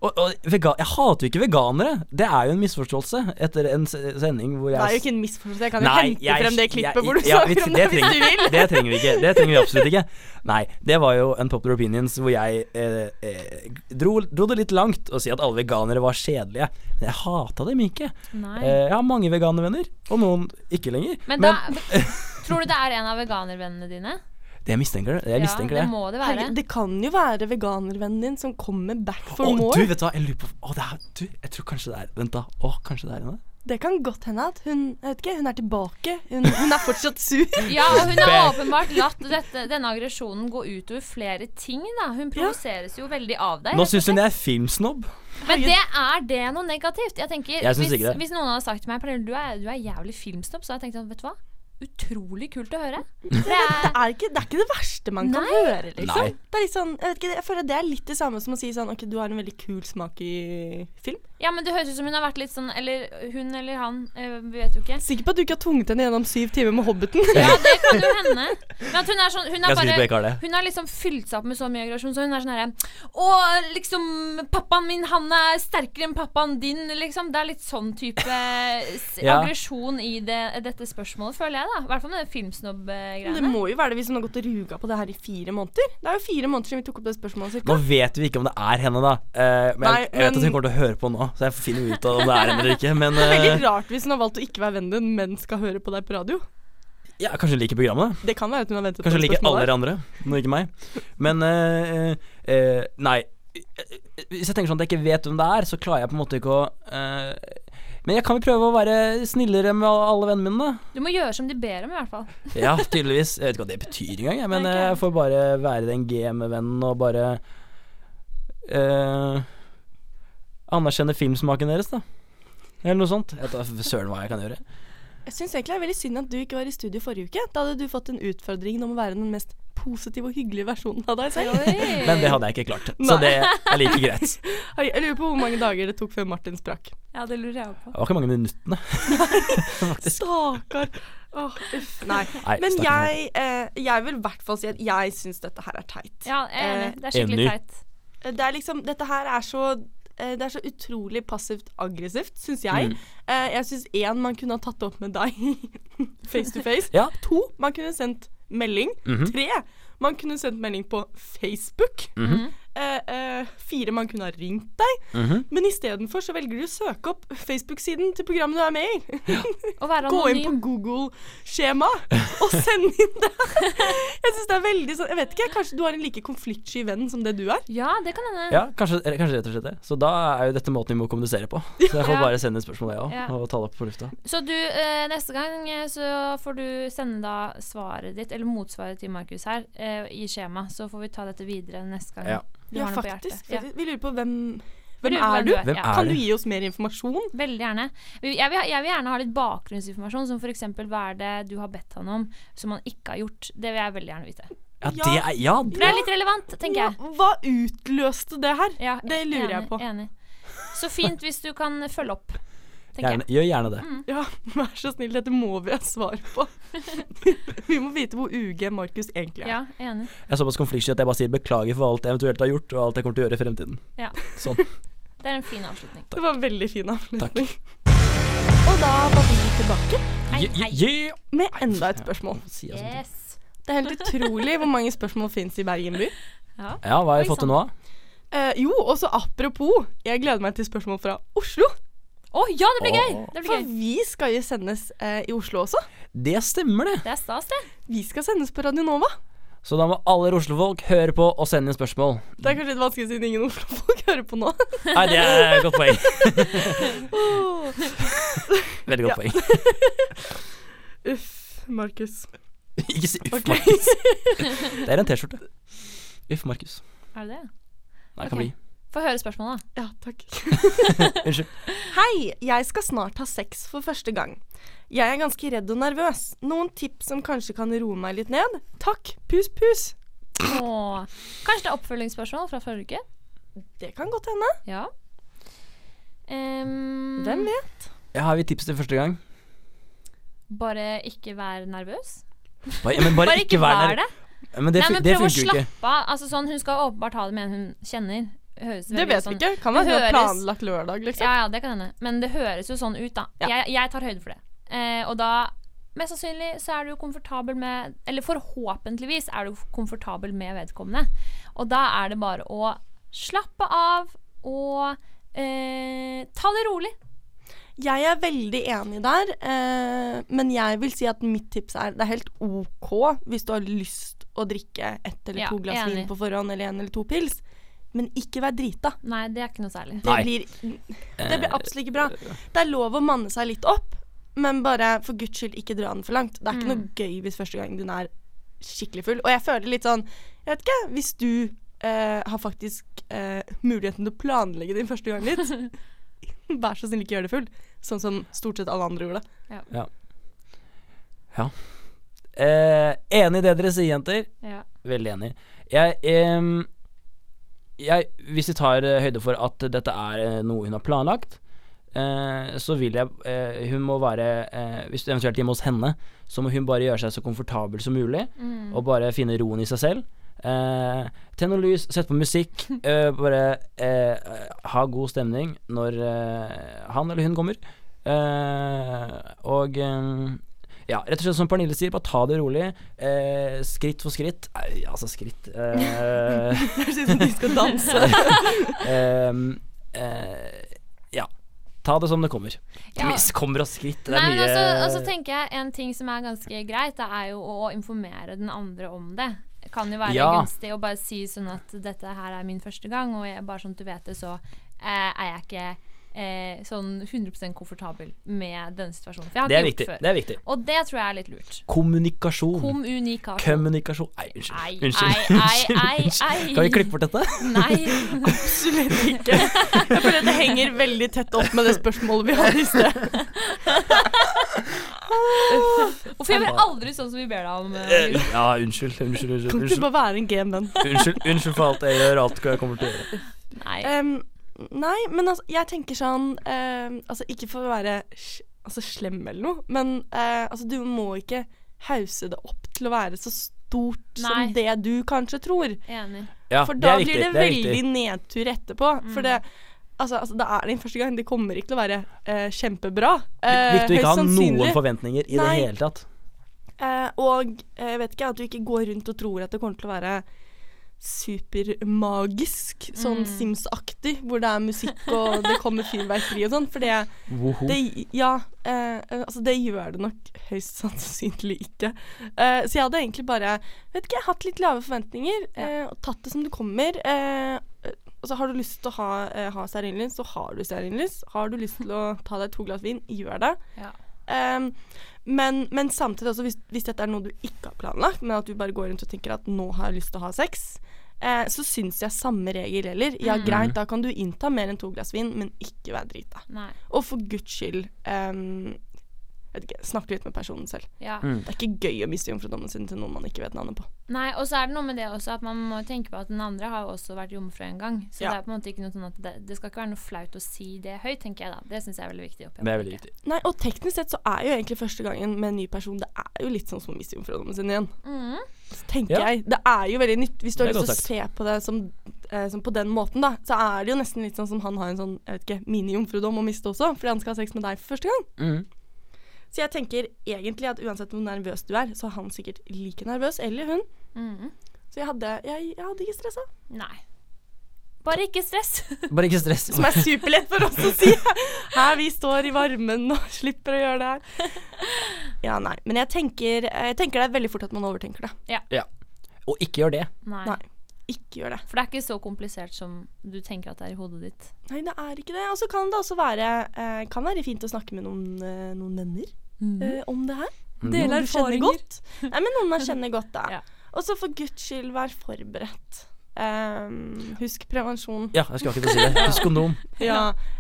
[SPEAKER 4] Og, og vega jeg hater jo ikke veganere. Det er jo en misforståelse etter en se- sending hvor jeg
[SPEAKER 3] Det er jo ikke en misforståelse. Jeg kan jo hente frem det klippet
[SPEAKER 4] jeg-
[SPEAKER 3] hvor du
[SPEAKER 4] ja, vi-
[SPEAKER 3] snakker om det, hvis du vil.
[SPEAKER 4] Det trenger vi ikke. Det trenger vi absolutt ikke. Nei, det var jo Unpopular Opinions hvor jeg eh, eh, dro, dro det litt langt å si at alle veganere var kjedelige. Men jeg hata dem ikke.
[SPEAKER 5] Nei.
[SPEAKER 4] Eh, jeg har mange veganervenner, og noen ikke lenger.
[SPEAKER 5] Men da Tror du det er en av veganervennene dine?
[SPEAKER 4] det jeg mistenker det. Jeg mistenker
[SPEAKER 5] ja, det
[SPEAKER 4] det.
[SPEAKER 5] må det være.
[SPEAKER 3] Herregud, det kan jo være veganervennen din som kommer back for
[SPEAKER 4] Å,
[SPEAKER 3] more.
[SPEAKER 4] du, vet du hva, jeg lurer på Å, det er Du, jeg tror kanskje det er Vent, da. Å, kanskje det er henne?
[SPEAKER 3] Det kan godt hende at hun jeg vet ikke, hun er tilbake. Hun, hun er fortsatt sur.
[SPEAKER 5] Ja, og hun har
[SPEAKER 4] Back.
[SPEAKER 5] åpenbart latt dette, denne aggresjonen gå utover flere ting, da. Hun provoseres jo veldig av deg.
[SPEAKER 4] Nå syns hun jeg er filmsnobb.
[SPEAKER 5] Men det er det noe negativt. Jeg
[SPEAKER 4] Jeg
[SPEAKER 5] tenker,
[SPEAKER 4] syns
[SPEAKER 5] hvis,
[SPEAKER 4] ikke det.
[SPEAKER 5] hvis noen hadde sagt til meg Pernille, du er, du er jævlig filmsnobb, så hadde jeg tenkt sånn, vet du hva? Utrolig kult å høre. For
[SPEAKER 3] Det
[SPEAKER 5] jeg,
[SPEAKER 3] er ikke det, er ikke det verste man kan
[SPEAKER 5] Nei.
[SPEAKER 3] høre, liksom.
[SPEAKER 4] Nei.
[SPEAKER 3] Det er litt sånn, jeg, vet ikke, jeg føler det er litt det samme som å si sånn OK, du har en veldig kul smak i film.
[SPEAKER 5] Ja, men det høres ut som hun har vært litt sånn Eller hun eller han, eh, vi vet jo ikke.
[SPEAKER 3] Sikker på at du ikke har tvunget henne gjennom syv timer med Hobbiten?
[SPEAKER 5] Ja, det kan jo hende. Men at hun er sånn Hun er
[SPEAKER 4] Ganske sikker på jeg ikke har
[SPEAKER 5] bare
[SPEAKER 4] det.
[SPEAKER 5] Hun har liksom fylt seg opp med så mye aggresjon, så hun er sånn herre Og liksom Pappaen min, han er sterkere enn pappaen din, liksom. Det er litt sånn type s-
[SPEAKER 4] Ja.
[SPEAKER 5] aggresjon i det, dette spørsmålet, føler jeg, da. I hvert fall med det
[SPEAKER 3] Det
[SPEAKER 5] filmsnobb-greiene.
[SPEAKER 3] må jo være det hvis hun har gått og ruga på det her i fire måneder. Det er jo fire måneder siden vi tok opp det spørsmålet.
[SPEAKER 4] Nå
[SPEAKER 3] Cirka.
[SPEAKER 4] vet vi ikke om det er henne, da. Eh, men
[SPEAKER 3] Nei,
[SPEAKER 4] jeg, jeg vet at
[SPEAKER 3] men-
[SPEAKER 4] hun kommer til å høre på nå, så jeg finner jo ut av om det er henne eller ikke. Men
[SPEAKER 3] Det er
[SPEAKER 4] eh,
[SPEAKER 3] veldig rart hvis hun har valgt å ikke være vennen din, men skal høre på deg på radio.
[SPEAKER 4] ja, kanskje hun liker programmet. da.
[SPEAKER 3] Det kan være at hun har ventet
[SPEAKER 4] Kanskje hun
[SPEAKER 3] på det
[SPEAKER 4] liker alle
[SPEAKER 3] spørsmålet.
[SPEAKER 4] dere andre, men ikke meg. Men eh, eh, nei. Hvis jeg tenker sånn at jeg ikke vet hvem det er, så klarer jeg på en måte ikke å eh, Men jeg kan jo prøve å være snillere med alle vennene mine, da.
[SPEAKER 5] Du må gjøre som de ber om, i hvert fall.
[SPEAKER 4] Ja, tydeligvis. Jeg vet ikke hva det betyr engang, jeg, men eh,
[SPEAKER 5] Nei, ikke jeg.
[SPEAKER 4] jeg får bare være den gamevennen og bare eh, Anerkjenne filmsmaken deres, da. Eller noe sånt. Jeg vet da f- søren hva jeg kan gjøre.
[SPEAKER 3] Jeg syns egentlig det er veldig synd at du ikke var i studio forrige uke. Da hadde du fått en utfordring om å være den mest positive og hyggelige versjonen av deg selv.
[SPEAKER 4] Men det hadde jeg ikke klart, så
[SPEAKER 3] Nei.
[SPEAKER 4] det er like greit.
[SPEAKER 3] Oi, Jeg lurer på hvor mange dager det tok før Martin sprakk.
[SPEAKER 5] Ja, det lurer jeg òg på.
[SPEAKER 4] Det var ikke mange minuttene.
[SPEAKER 3] Stakkar. Åh, uff. Nei.
[SPEAKER 4] Nei,
[SPEAKER 3] Men
[SPEAKER 4] stakkars meg.
[SPEAKER 3] jeg, eh, jeg vil i hvert fall si at jeg syns dette her er teit.
[SPEAKER 5] Ja, jeg er enig.
[SPEAKER 4] Eh,
[SPEAKER 5] Det er
[SPEAKER 4] Enig.
[SPEAKER 5] skikkelig teit.
[SPEAKER 3] Det er liksom, dette her er så eh, det er så utrolig passivt aggressivt, syns jeg. Eh, jeg syns én man kunne ha tatt det opp med deg face to face.
[SPEAKER 4] Ja.
[SPEAKER 3] To, man kunne sendt melding. Tre, man kunne sendt melding på Facebook. Eh, eh, fire, man kunne ha ringt deg. Men istedenfor så velger du å søke opp Facebook-siden til programmet du er med i.
[SPEAKER 5] Å være
[SPEAKER 3] Gå inn på
[SPEAKER 5] anonym.
[SPEAKER 3] Google-skjema og send inn det. Jeg syns det er veldig sånn Jeg vet ikke, kanskje du har en like konfliktsky venn som det du er?
[SPEAKER 5] Ja, det kan hende.
[SPEAKER 4] Ja, kanskje, eller kanskje rett og slett det. Så da er jo dette måten vi må kommunisere på. Så jeg får
[SPEAKER 5] Ja.
[SPEAKER 4] bare sende inn spørsmål, jeg òg,
[SPEAKER 5] Ja.
[SPEAKER 4] og ta det opp på lufta.
[SPEAKER 5] Så du, eh, neste gang eh, så får du sende da svaret ditt, eller motsvaret til Markus her, eh, i skjema. Så får vi ta dette videre neste gang.
[SPEAKER 4] Ja.
[SPEAKER 5] Du har noe på hjertet. Ja.
[SPEAKER 3] Vi lurer på hvem
[SPEAKER 5] Vi
[SPEAKER 3] Hvem
[SPEAKER 5] lurer på
[SPEAKER 3] er du?
[SPEAKER 4] Hvem
[SPEAKER 5] Ja.
[SPEAKER 4] er
[SPEAKER 3] Kan du
[SPEAKER 4] det?
[SPEAKER 3] gi oss mer informasjon?
[SPEAKER 5] Veldig gjerne. Vi- Jeg vil, ha- jeg vil gjerne ha litt bakgrunnsinformasjon, som f.eks. hva er det du har bedt han om som han ikke har gjort. Det vil jeg veldig gjerne vite.
[SPEAKER 4] Ja, det er Ja,
[SPEAKER 5] For det er litt relevant, tenker jeg.
[SPEAKER 3] Ja, hva utløste det her?
[SPEAKER 5] Ja,
[SPEAKER 3] det lurer jeg
[SPEAKER 5] enig,
[SPEAKER 3] på.
[SPEAKER 5] Enig. Så fint hvis du kan følge opp, tenker
[SPEAKER 4] gjerne, gjør gjerne
[SPEAKER 5] Mm.
[SPEAKER 4] det.
[SPEAKER 3] Ja, vær så snill, dette må vi ha svar på. vi må vite hvor UG Markus egentlig
[SPEAKER 5] jeg.
[SPEAKER 3] er.
[SPEAKER 5] Ja, enig.
[SPEAKER 4] Jeg er såpass konfliktsky at jeg bare sier beklager for alt jeg eventuelt har gjort, og alt jeg kommer til å gjøre i fremtiden.
[SPEAKER 5] Ja.
[SPEAKER 4] Sånn.
[SPEAKER 5] Det er en fin avslutning.
[SPEAKER 3] Det var en veldig fin avslutning. Og da var vi tilbake
[SPEAKER 5] Ei,
[SPEAKER 4] Yeah,
[SPEAKER 5] ei.
[SPEAKER 4] yeah.
[SPEAKER 3] med enda et spørsmål.
[SPEAKER 4] Si det sånn.
[SPEAKER 5] Yes.
[SPEAKER 3] Det er helt utrolig hvor mange spørsmål fins i Bergen by.
[SPEAKER 5] Ja.
[SPEAKER 4] Ja, hva har
[SPEAKER 5] Oi, sånn.
[SPEAKER 4] jeg fått
[SPEAKER 5] sant.
[SPEAKER 4] til nå? da?
[SPEAKER 3] Eh, jo, og så apropos, jeg gleder meg til spørsmål fra Oslo.
[SPEAKER 5] Å ja, det blir gøy!
[SPEAKER 4] Åh.
[SPEAKER 5] Det blir
[SPEAKER 3] For
[SPEAKER 5] gøy.
[SPEAKER 3] vi skal jo sendes eh, i Oslo også.
[SPEAKER 4] Det stemmer, det.
[SPEAKER 5] Det er stas, det.
[SPEAKER 3] Vi skal sendes på Radio Nova.
[SPEAKER 4] Så da må alle Oslo-folk høre på og sende inn spørsmål.
[SPEAKER 3] Det er kanskje litt vanskelig siden ingen Oslo-folk hører på nå.
[SPEAKER 4] Nei, det er et godt poeng. Veldig godt poeng.
[SPEAKER 3] Uff, Markus.
[SPEAKER 4] Ikke si uff,
[SPEAKER 3] Ok.
[SPEAKER 4] Markus. Det er en T-skjorte. Uff, Markus.
[SPEAKER 5] Er det det?
[SPEAKER 4] Nei, det
[SPEAKER 5] Ok.
[SPEAKER 4] kan bli.
[SPEAKER 5] Få høre spørsmålet, da.
[SPEAKER 3] Ja, takk.
[SPEAKER 4] Unnskyld.
[SPEAKER 3] Hei, jeg skal snart ha sex for første gang. Jeg er ganske redd og nervøs. Noen tips som kanskje kan roe meg litt ned? Takk. Pus, pus.
[SPEAKER 5] Åh. Kanskje det er oppfølgingsspørsmål fra forrige uke?
[SPEAKER 3] Det kan godt hende.
[SPEAKER 5] Ja. Ehm,
[SPEAKER 3] Hvem vet?
[SPEAKER 4] Jeg har vi tips til første gang.
[SPEAKER 5] Bare ikke vær nervøs.
[SPEAKER 4] Bare, men bare, ikke vær der.
[SPEAKER 5] det.
[SPEAKER 4] Men det,
[SPEAKER 5] Nei,
[SPEAKER 4] fun-
[SPEAKER 5] men
[SPEAKER 4] det
[SPEAKER 5] prøv å
[SPEAKER 4] funker jo ikke.
[SPEAKER 5] slappe av. Altså, sånn, hun skal åpenbart ha det med en hun kjenner. Høres
[SPEAKER 3] Det
[SPEAKER 5] veldig
[SPEAKER 3] vet vi
[SPEAKER 5] sånn.
[SPEAKER 3] ikke. Kan være
[SPEAKER 5] Det
[SPEAKER 3] hun har
[SPEAKER 5] høres-
[SPEAKER 3] planlagt lørdag, liksom.
[SPEAKER 5] Ja, ja, det kan hende. Men det høres jo sånn ut, da.
[SPEAKER 3] Ja.
[SPEAKER 5] Jeg, jeg tar høyde for det. Eh, og da Mest sannsynlig så er du jo komfortabel med Eller forhåpentligvis er du komfortabel med vedkommende. Og da er det bare å slappe av og eh, ta det rolig.
[SPEAKER 3] Jeg er veldig enig der, eh, men jeg vil si at mitt tips er det er helt OK hvis du har lyst å drikke ett eller
[SPEAKER 5] Ja,
[SPEAKER 3] to glass
[SPEAKER 5] enig.
[SPEAKER 3] vin på forhånd, eller en eller to pils, men ikke vær drita.
[SPEAKER 5] Nei, det er ikke noe særlig.
[SPEAKER 3] Det
[SPEAKER 4] Nei.
[SPEAKER 3] blir, det blir absolutt ikke bra. Det er lov å manne seg litt opp, men bare for guds skyld ikke dra den for langt. Det er ikke noe gøy hvis første gangen din er skikkelig full. Og jeg føler litt sånn Jeg vet ikke, hvis du eh, har faktisk eh, muligheten til å planlegge din første gang litt, vær så snill ikke gjør det full. Sånn som stort sett alle andre gjorde.
[SPEAKER 4] Eh, enig i det dere sier, jenter.
[SPEAKER 5] Ja.
[SPEAKER 4] Veldig enig. Jeg, em, jeg, hvis vi tar eh, høyde for at dette er eh, noe hun har planlagt, eh, så vil jeg eh, Hun må være eh, Hvis du eventuelt er hjemme hos henne, så må hun bare gjøre seg så komfortabel som mulig, og bare finne roen i seg selv. Eh, Tenn noe lys, sett på musikk. eh, bare eh, ha god stemning når eh, han eller hun kommer. Eh, og eh, ja, rett og slett som Pernille sier, bare ta det rolig. Eh, skritt for skritt. Nei, altså skritt eh,
[SPEAKER 3] Høres ut som de skal danse.
[SPEAKER 4] Ehm, eh, ja. Ta det som det kommer.
[SPEAKER 5] Ja.
[SPEAKER 4] Hvis det kommer av skritt. Det er
[SPEAKER 5] Nei, men
[SPEAKER 4] mye
[SPEAKER 3] altså,
[SPEAKER 5] også, også tenker jeg En ting som er ganske greit, det er jo å informere den andre om det. Det Kan jo være
[SPEAKER 4] Ja.
[SPEAKER 5] gunstig å bare si sånn at dette her er min første gang, og jeg, bare sånn at du vet det, så eh, er jeg ikke eh, sånn 100 komfortabel med denne situasjonen. For jeg har
[SPEAKER 4] det, er
[SPEAKER 5] ikke
[SPEAKER 4] viktig,
[SPEAKER 5] gjort det
[SPEAKER 4] det er viktig.
[SPEAKER 5] før. Og det tror jeg er litt lurt.
[SPEAKER 4] Kommunikasjon.
[SPEAKER 5] Kommunikasjon.
[SPEAKER 4] Kommunikasjon Nei, unnskyld.
[SPEAKER 5] Ei,
[SPEAKER 4] unnskyld.
[SPEAKER 5] ei, ei, ei, ei.
[SPEAKER 4] Kan vi klippe bort dette?
[SPEAKER 5] Nei.
[SPEAKER 3] Absolutt ikke. Jeg føler at det henger veldig tett opp med det spørsmålet vi hadde i sted.
[SPEAKER 5] Hvorfor gjør vi aldri sånn som vi ber deg om? eh, Oliver?
[SPEAKER 4] ja, unnskyld. Unnskyld, unnskyld.
[SPEAKER 3] Kan ikke du
[SPEAKER 4] Unnskyld,
[SPEAKER 3] bare være en game venn?
[SPEAKER 4] unnskyld, unnskyld for alt jeg gjør, alt hva jeg kommer til å gjøre.
[SPEAKER 5] Nei.
[SPEAKER 3] Em, nei, men altså, jeg tenker sånn em, Altså, ikke for å være sj- altså, slem eller noe, men eh, altså, du må ikke hause det opp til å være så stort
[SPEAKER 5] Nei.
[SPEAKER 3] som det du kanskje tror.
[SPEAKER 5] Enig.
[SPEAKER 4] Ja,
[SPEAKER 3] For
[SPEAKER 4] det
[SPEAKER 3] da
[SPEAKER 4] er riktig,
[SPEAKER 3] blir det,
[SPEAKER 4] er
[SPEAKER 3] veldig
[SPEAKER 4] riktig.
[SPEAKER 3] nedtur etterpå. For det Altså, altså, det er din første gang. Det kommer ikke til å være eh, kjempebra. eh,
[SPEAKER 4] Viktig å ikke
[SPEAKER 3] høyst
[SPEAKER 4] ha noen
[SPEAKER 3] sannsynlig.
[SPEAKER 4] forventninger i
[SPEAKER 3] Nei.
[SPEAKER 4] det hele tatt.
[SPEAKER 3] Eh, og eh, jeg vet ikke, at du ikke går rundt og tror at det kommer til å være supermagisk, sånn Sims-aktig, hvor det er musikk og det kommer fyrverkeri og sånn. For det,
[SPEAKER 4] Woho.
[SPEAKER 3] det Ja. Eh, altså, det gjør det nok høyst sannsynlig ikke. Eh, så jeg hadde egentlig bare Vet ikke, jeg har hatt litt lave forventninger eh, og tatt det som det kommer. Eh, og så har du lyst til å ha, eh, ha stearinlys, så har du stearinlys. Har du lyst til å ta deg to glass vin, gjør det.
[SPEAKER 5] Ja.
[SPEAKER 3] Ehm, men, men samtidig også, hvis, hvis dette er noe du ikke har planlagt, men at du bare går rundt og tenker at 'nå har jeg lyst til å ha sex', eh, så syns jeg samme regel gjelder. Ja, greit, da kan du innta mer enn to glass vin, men ikke være drita.
[SPEAKER 5] Nei.
[SPEAKER 3] Og for guds skyld um, vet ikke, Snakk litt med personen selv.
[SPEAKER 5] Ja.
[SPEAKER 3] Det er ikke gøy å miste jomfrudommen sin til noen man ikke vet navnet på.
[SPEAKER 5] Nei, og så er det noe med det også at man må tenke på at den andre har jo også vært jomfru en gang. Så
[SPEAKER 3] Ja.
[SPEAKER 5] det er på en måte ikke noe sånn at det, det skal ikke være noe flaut å si det høyt, tenker jeg da. Det syns jeg er veldig viktig. å
[SPEAKER 4] Det er veldig
[SPEAKER 5] påpeke.
[SPEAKER 4] viktig.
[SPEAKER 3] Nei, Og teknisk sett så er jo egentlig første gangen med en ny person Det er jo litt sånn som å miste jomfrudommen sin igjen.
[SPEAKER 5] Mhm.
[SPEAKER 3] tenker
[SPEAKER 4] Ja.
[SPEAKER 3] jeg. Det er jo veldig nytt. Hvis du har
[SPEAKER 4] Det er
[SPEAKER 3] lyst til å se på det som, eh, som på den måten, da, så er det jo nesten litt sånn som han har en sånn jeg vet ikke, mini-jomfrudom å miste også, fordi han skal ha sex med deg for første gang.
[SPEAKER 4] Mm.
[SPEAKER 3] Så jeg tenker egentlig at uansett hvor nervøs du er, så er han sikkert like nervøs, eller hun.
[SPEAKER 5] Mhm.
[SPEAKER 3] Så jeg hadde, jeg, jeg hadde ikke stressa.
[SPEAKER 5] Nei. Bare ikke stress.
[SPEAKER 4] Bare ikke stress.
[SPEAKER 3] Som er superlett for oss å si. Her vi står i varmen og slipper å gjøre det her. Ja, nei. Men jeg tenker, jeg tenker det er veldig fort at man overtenker det.
[SPEAKER 4] Ja. Og ikke gjør det.
[SPEAKER 5] Nei.
[SPEAKER 3] Nei. Ikke gjør det.
[SPEAKER 5] For det er ikke så komplisert som du tenker at det er i hodet ditt.
[SPEAKER 3] Nei, det er ikke det. Og så kan det også være, eh, kan være fint å snakke med noen, eh, noen venner
[SPEAKER 4] Mm.
[SPEAKER 3] eh, om det her. Dele
[SPEAKER 5] Noen du kjenner
[SPEAKER 3] erfaringer. Godt. Nei, men noen man kjenner godt, da.
[SPEAKER 5] Ja.
[SPEAKER 3] Og så for guds skyld, vær forberedt. Eh, husk prevensjon.
[SPEAKER 4] Ja, jeg skulle akkurat til å si det. Husk kondom.
[SPEAKER 3] Ja.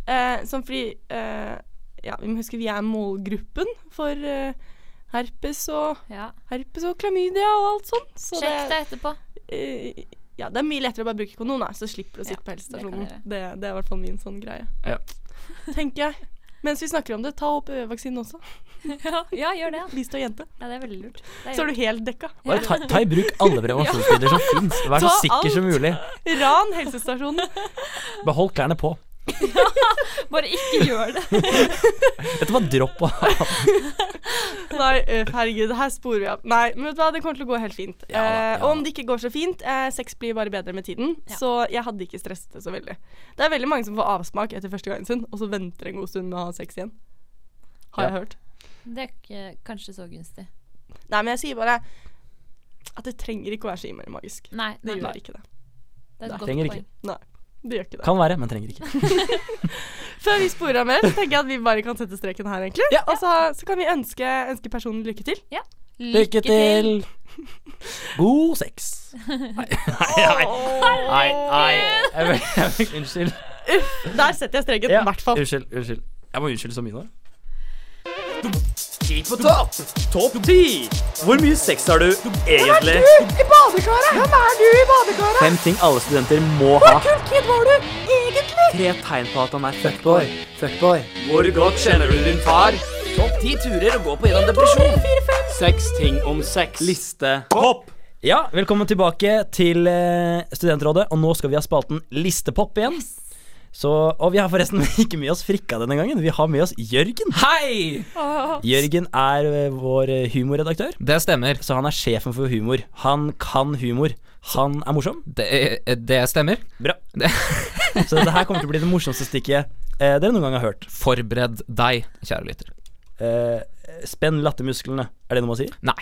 [SPEAKER 3] Eh, sånn fordi eh, Ja, vi må huske vi er målgruppen for eh, herpes og
[SPEAKER 5] Ja.
[SPEAKER 3] herpes og klamydia og alt sånt. Så
[SPEAKER 5] Sjekk
[SPEAKER 3] det,
[SPEAKER 5] deg etterpå.
[SPEAKER 3] eh, ja, det er mye lettere å bare bruke kondom, da, så slipper du å sitte
[SPEAKER 5] Ja,
[SPEAKER 3] på
[SPEAKER 5] det kan
[SPEAKER 3] helsestasjonen.
[SPEAKER 5] dere.
[SPEAKER 3] Det, det, er i hvert fall min sånn greie.
[SPEAKER 4] Ja.
[SPEAKER 3] Tenker jeg. Mens vi snakker om det, ta HPV-vaksinen også.
[SPEAKER 5] Ja, gjør det. da.
[SPEAKER 3] Hvis du er jente.
[SPEAKER 5] Ja, det er veldig lurt. Det er
[SPEAKER 3] Så er du helt dekka.
[SPEAKER 4] Bare ta, ta i bruk alle prevensjonsmidler som fins. Vær så
[SPEAKER 3] Ta
[SPEAKER 4] sikker som
[SPEAKER 3] alt.
[SPEAKER 4] mulig.
[SPEAKER 3] Ran helsestasjonen.
[SPEAKER 4] Behold klærne på.
[SPEAKER 5] gjort. Bare ikke gjør det.
[SPEAKER 4] Dette var dropp av
[SPEAKER 3] Nei, ø, herregud, her sporer vi av. Nei, men vet du hva, det kommer til å gå helt fint.
[SPEAKER 4] Ja da, ja
[SPEAKER 3] eh, og
[SPEAKER 4] da.
[SPEAKER 3] om det ikke går så fint, eh, sex blir bare bedre med tiden.
[SPEAKER 5] Ja.
[SPEAKER 3] Så jeg hadde ikke stresset det så veldig. Det er veldig mange som får avsmak etter første gangen sin, og så venter en god stund med å ha sex igjen.
[SPEAKER 4] Ja.
[SPEAKER 3] Har jeg hørt.
[SPEAKER 5] Det er ikke, kanskje så gunstig.
[SPEAKER 3] Nei, men jeg sier bare at det trenger ikke å være så innmari magisk.
[SPEAKER 5] Nei,
[SPEAKER 3] Det
[SPEAKER 5] nei,
[SPEAKER 3] gjør ikke det.
[SPEAKER 5] det er
[SPEAKER 3] Nei.
[SPEAKER 5] et godt
[SPEAKER 4] Trenger
[SPEAKER 5] poeng.
[SPEAKER 4] ikke.
[SPEAKER 3] Nei, det gjør ikke det.
[SPEAKER 4] Kan være, men trenger ikke.
[SPEAKER 3] Før vi sporer av mer, så tenker jeg at vi bare kan sette streken her, egentlig. Og så, så kan vi ønske, ønske personen lykke til.
[SPEAKER 4] Lykke til! God sex. Nei, nei, nei. nei, nei. Jeg vil- jeg vil- Unnskyld.
[SPEAKER 3] Der setter jeg streken, i hvert fall.
[SPEAKER 4] Unnskyld. unnskyld Jeg må unnskylde så mye nå.
[SPEAKER 7] Ski på topp! Topp ti! Hvor mye sex har du egentlig?
[SPEAKER 3] I badekaret! Hvem er du i badekaret?
[SPEAKER 8] Fem ting alle studenter må ha.
[SPEAKER 3] Kult kid var du egentlig!
[SPEAKER 8] Tre tegn på at han er fuckboy. Fuckboy.
[SPEAKER 7] Hvor godt kjenner du din far?
[SPEAKER 8] Topp ti turer å gå på gjennom depresjon. Seks ting om sex.
[SPEAKER 7] Liste hopp!
[SPEAKER 4] Ja, velkommen tilbake til eh, Studentrådet, og nå skal vi ha spalten Listepop igjen. Så, og vi har forresten ikke med oss Frikka denne gangen, vi har med oss Jørgen.
[SPEAKER 9] Hei!
[SPEAKER 4] Jørgen er eh, vår eh, humorredaktør,
[SPEAKER 9] Det stemmer.
[SPEAKER 4] så han er sjefen for humor. Han kan humor. Han er morsom.
[SPEAKER 9] Det, eh, det stemmer.
[SPEAKER 4] Bra.
[SPEAKER 9] Det,
[SPEAKER 4] Så dette her kommer til å bli det morsomste stikket eh, dere noen gang har hørt.
[SPEAKER 9] forbered deg, kjære lytter.
[SPEAKER 4] Eh, spenn lattermusklene. Er det noe man sier?
[SPEAKER 9] Nei.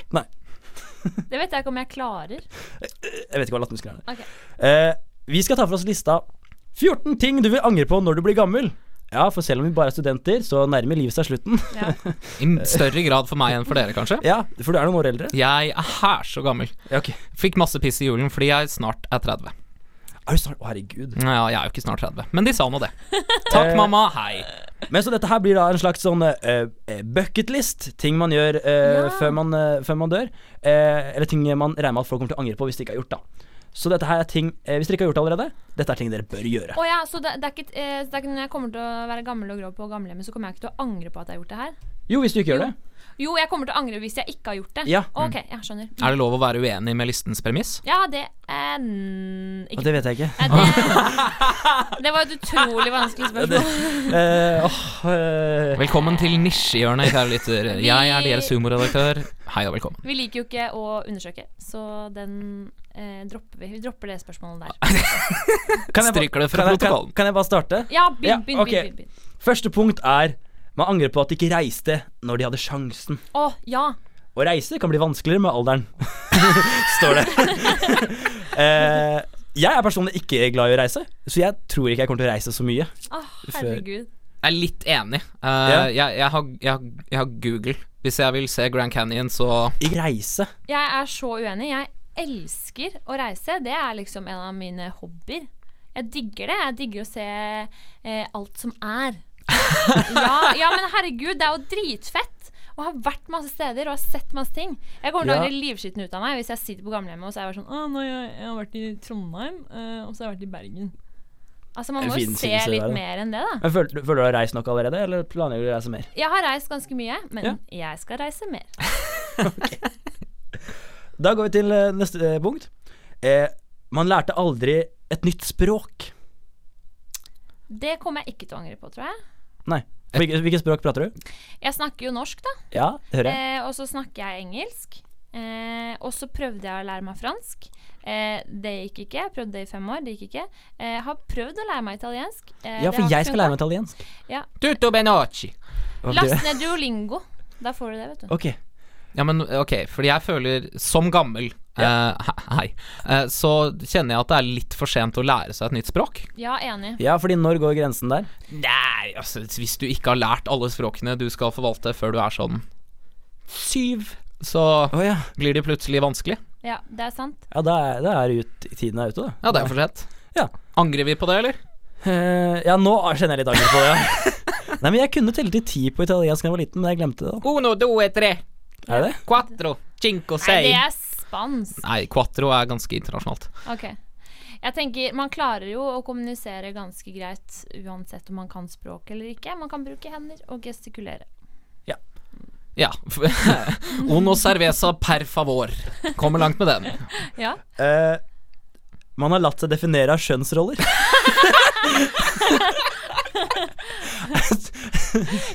[SPEAKER 5] Det vet jeg ikke om jeg klarer.
[SPEAKER 4] Jeg vet ikke hva lattermusklene er.
[SPEAKER 5] Ok.
[SPEAKER 4] Eh, vi skal ta for oss lista 14 ting du vil angre på når du blir gammel. Ja, for selv om vi bare er studenter, så nærmer livet seg slutten.
[SPEAKER 9] I større grad for meg enn for dere, kanskje.
[SPEAKER 4] Ja, for du er noen år eldre.
[SPEAKER 9] Jeg er her så gammel.
[SPEAKER 4] Ja, ok.
[SPEAKER 9] Fikk masse piss i julen fordi jeg snart er 30.
[SPEAKER 4] Er du snart Å, herregud.
[SPEAKER 9] Nå, Ja, jeg er jo ikke snart 30, men de sa nå det. Takk,
[SPEAKER 4] Eh,
[SPEAKER 9] mamma. Hei.
[SPEAKER 4] Men så dette her blir da en slags sånn eh, eh, bucketlist. Ting man gjør eh, før, man, eh, før man dør. Eh, eller ting man regner med at folk kommer til å angre på hvis de ikke har gjort, da. Så dette her er ting eh, Hvis dere ikke har gjort det allerede, dette er ting dere bør gjøre.
[SPEAKER 5] Å ja, så det, det er ikke, eh, så det er ikke når jeg kommer til å være gammel og grå på gamlehjemmet, så kommer jeg ikke til å angre på at jeg har gjort det her?
[SPEAKER 4] Jo, hvis du ikke gjør det.
[SPEAKER 5] Jo, jeg kommer til å angre hvis jeg ikke har gjort det.
[SPEAKER 4] Ja. Mm.
[SPEAKER 5] Ok, jeg skjønner.
[SPEAKER 9] Er det lov å være uenig med listens premiss?
[SPEAKER 5] Ja, det eh, n-
[SPEAKER 4] Og
[SPEAKER 5] ikke,
[SPEAKER 4] det vet jeg ikke.
[SPEAKER 5] Eh, det, det var et utrolig vanskelig spørsmål.
[SPEAKER 4] Eh, åh, eh,
[SPEAKER 9] Velkommen til nisjehjørnet, kjære lytter. Jeg er deres humorredaktør. Hei og velkommen.
[SPEAKER 5] Vi liker jo ikke å undersøke, så den eh, dropper vi. Vi dropper det spørsmålet der.
[SPEAKER 4] kan jeg ba-
[SPEAKER 9] Stryker det fra
[SPEAKER 4] kan jeg- kan-
[SPEAKER 9] protokollen.
[SPEAKER 4] Kan jeg bare starte?
[SPEAKER 5] Ja, begynn,
[SPEAKER 4] Ja,
[SPEAKER 5] begynn,
[SPEAKER 4] ok.
[SPEAKER 5] begynn, begynn. begynn.
[SPEAKER 4] Første punkt er man angrer på at de ikke reiste når de hadde sjansen.
[SPEAKER 5] Å, ja.
[SPEAKER 4] Å reise kan bli vanskeligere med alderen, står det. eh, jeg er personlig ikke glad i å reise, så jeg tror ikke jeg kommer til å reise så mye.
[SPEAKER 5] Å, herregud.
[SPEAKER 9] Jeg er litt enig. Eh, jeg, jeg, har, jeg, har, jeg har Google. Hvis jeg vil se Grand Canyon, så
[SPEAKER 4] Ikke reise.
[SPEAKER 5] Jeg er så uenig. Jeg elsker å reise. Det er liksom en av mine hobbyer. Jeg digger det. Jeg digger å se eh, alt som er. ja, ja, men herregud, det er jo dritfett. Og har vært masse steder og har sett masse ting. Jeg kommer til
[SPEAKER 4] Ja.
[SPEAKER 5] å angre livskiten ut av meg hvis jeg sitter på gamlehjemmet og så er jeg bare sånn Å, nå har jeg, jeg har vært i Trondheim, eh, og så har jeg vært i Bergen. Altså, man
[SPEAKER 4] En
[SPEAKER 5] må jo
[SPEAKER 4] fin
[SPEAKER 5] se
[SPEAKER 4] synsing, det der,
[SPEAKER 5] litt
[SPEAKER 4] da.
[SPEAKER 5] mer enn det, da.
[SPEAKER 4] Men føler, føler du har reist nok allerede, eller planlegger du å reise mer?
[SPEAKER 5] Jeg har reist ganske mye, men jeg skal reise mer.
[SPEAKER 4] Da går vi til eh, neste eh, punkt. Eh, man lærte aldri et nytt språk.
[SPEAKER 5] Det kommer jeg ikke til å angre på, tror jeg.
[SPEAKER 4] Nei. Hvilket, hvilket språk prater du?
[SPEAKER 5] Jeg snakker jo norsk, da.
[SPEAKER 4] Ja, det hører jeg.
[SPEAKER 5] Eh, og så snakker jeg engelsk. Eh, og så prøvde jeg å lære meg fransk. Eh, det gikk ikke. Jeg prøvde det i fem år. Det gikk ikke. Eh, jeg har prøvd å lære meg italiensk. Eh,
[SPEAKER 4] Ja,
[SPEAKER 5] det
[SPEAKER 4] for
[SPEAKER 5] har
[SPEAKER 4] jeg
[SPEAKER 5] ikke
[SPEAKER 4] skal lære meg
[SPEAKER 5] funket.
[SPEAKER 4] italiensk.
[SPEAKER 9] Tutto benocci.
[SPEAKER 4] Hva betyr det?
[SPEAKER 5] Last ned Duolingo. Da får du det, vet du.
[SPEAKER 4] Ok.
[SPEAKER 9] Ja, men ok, fordi jeg føler Som gammel eh, he- Hei. eh, så kjenner jeg at det er litt for sent å lære seg et nytt språk.
[SPEAKER 5] Ja, enig.
[SPEAKER 4] Ja, fordi når går grensen der?
[SPEAKER 9] Nei, altså Hvis du ikke har lært alle språkene du skal forvalte før du er sånn syv, så
[SPEAKER 4] Å ja.
[SPEAKER 9] blir de plutselig vanskelig.
[SPEAKER 5] Ja, det er sant.
[SPEAKER 4] Ja, da er, da er ut, tiden er ute, da.
[SPEAKER 9] Ja, det er for sent.
[SPEAKER 4] Ja.
[SPEAKER 9] Angrer vi på det, eller?
[SPEAKER 4] Eh, ja, nå kjenner jeg litt anger på det. Ja. Nei, men jeg kunne telle til ti på italiensk da jeg var liten, men jeg glemte det.
[SPEAKER 9] Uno, due, tre,
[SPEAKER 4] da Er det det?
[SPEAKER 9] quattro, cinco,
[SPEAKER 5] Nei, det
[SPEAKER 9] sei.
[SPEAKER 5] er spansk.
[SPEAKER 9] Nei, quattro er ganske internasjonalt.
[SPEAKER 5] Ok. Jeg tenker, Man klarer jo å kommunisere ganske greit uansett om man kan språk eller ikke. Man kan bruke hender og gestikulere.
[SPEAKER 9] Ja. Uno cerveza per favor. Kommer langt med den.
[SPEAKER 5] Ja.
[SPEAKER 4] Eh, man har latt seg definere av kjønnsroller.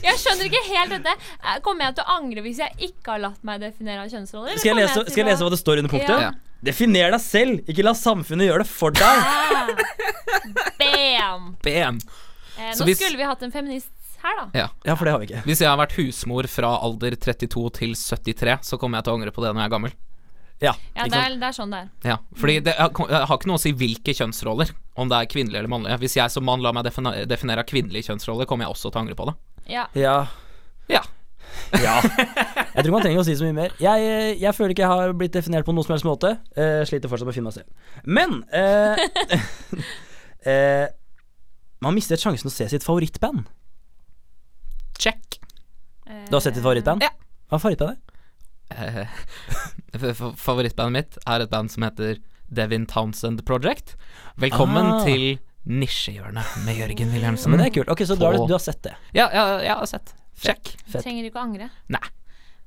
[SPEAKER 5] Jeg skjønner ikke helt dette. Eh, Kommer jeg til å angre hvis jeg ikke har latt meg definere av kjønnsroller? eller
[SPEAKER 4] Skal jeg,
[SPEAKER 5] kommer
[SPEAKER 4] lese,
[SPEAKER 5] til
[SPEAKER 4] skal jeg
[SPEAKER 5] å-
[SPEAKER 4] lese hva det står under punktet?
[SPEAKER 5] Ja.
[SPEAKER 4] Definer deg selv, ikke la samfunnet gjøre det for deg.
[SPEAKER 5] Bam!
[SPEAKER 9] BM.
[SPEAKER 5] Eh,
[SPEAKER 9] Så
[SPEAKER 5] nå
[SPEAKER 9] hvis-
[SPEAKER 5] skulle vi hatt en feminist her, da.
[SPEAKER 4] Ja, for det har vi ikke.
[SPEAKER 9] Hvis jeg har vært husmor fra alder 32 til 73, så kommer jeg til å angre på det når jeg er gammel.
[SPEAKER 4] Ja, ikke
[SPEAKER 5] Ja, det
[SPEAKER 4] sant?
[SPEAKER 5] er, det er sånn det er.
[SPEAKER 9] Ja, fordi det jeg kom- jeg har ikke noe å si hvilke kjønnsroller, om det er kvinnelige eller mannlige. Hvis jeg som mann lar meg defina- definere av kvinnelige kjønnsroller, kommer jeg også til å angre på det.
[SPEAKER 5] Ja.
[SPEAKER 4] Ja.
[SPEAKER 9] Ja.
[SPEAKER 4] Ja. Jeg tror man trenger å si så mye mer. Jeg, eh, jeg føler ikke jeg har blitt definert på noen som helst måte. Eh, sliter fortsatt med å finne meg selv. Men eh, eh, Man mistet sjansen å se sitt favorittband.
[SPEAKER 9] Check.
[SPEAKER 4] Du har sett ditt favorittband?
[SPEAKER 9] Ja.
[SPEAKER 4] Hva er favoritt av deg?
[SPEAKER 9] Eh, f- f- Favorittbandet mitt er et band som heter Devin Townsend Project. Velkommen
[SPEAKER 4] Ah.
[SPEAKER 9] til Nisjehjørnet med Jørgen Wilhelmsen.
[SPEAKER 4] Men det er kult. Ok, Så du har,
[SPEAKER 9] På-
[SPEAKER 4] du har sett det.
[SPEAKER 9] Ja, ja, jeg har sett. Sjekk.
[SPEAKER 4] Fett.
[SPEAKER 5] Trenger ikke å angre.
[SPEAKER 9] Nei.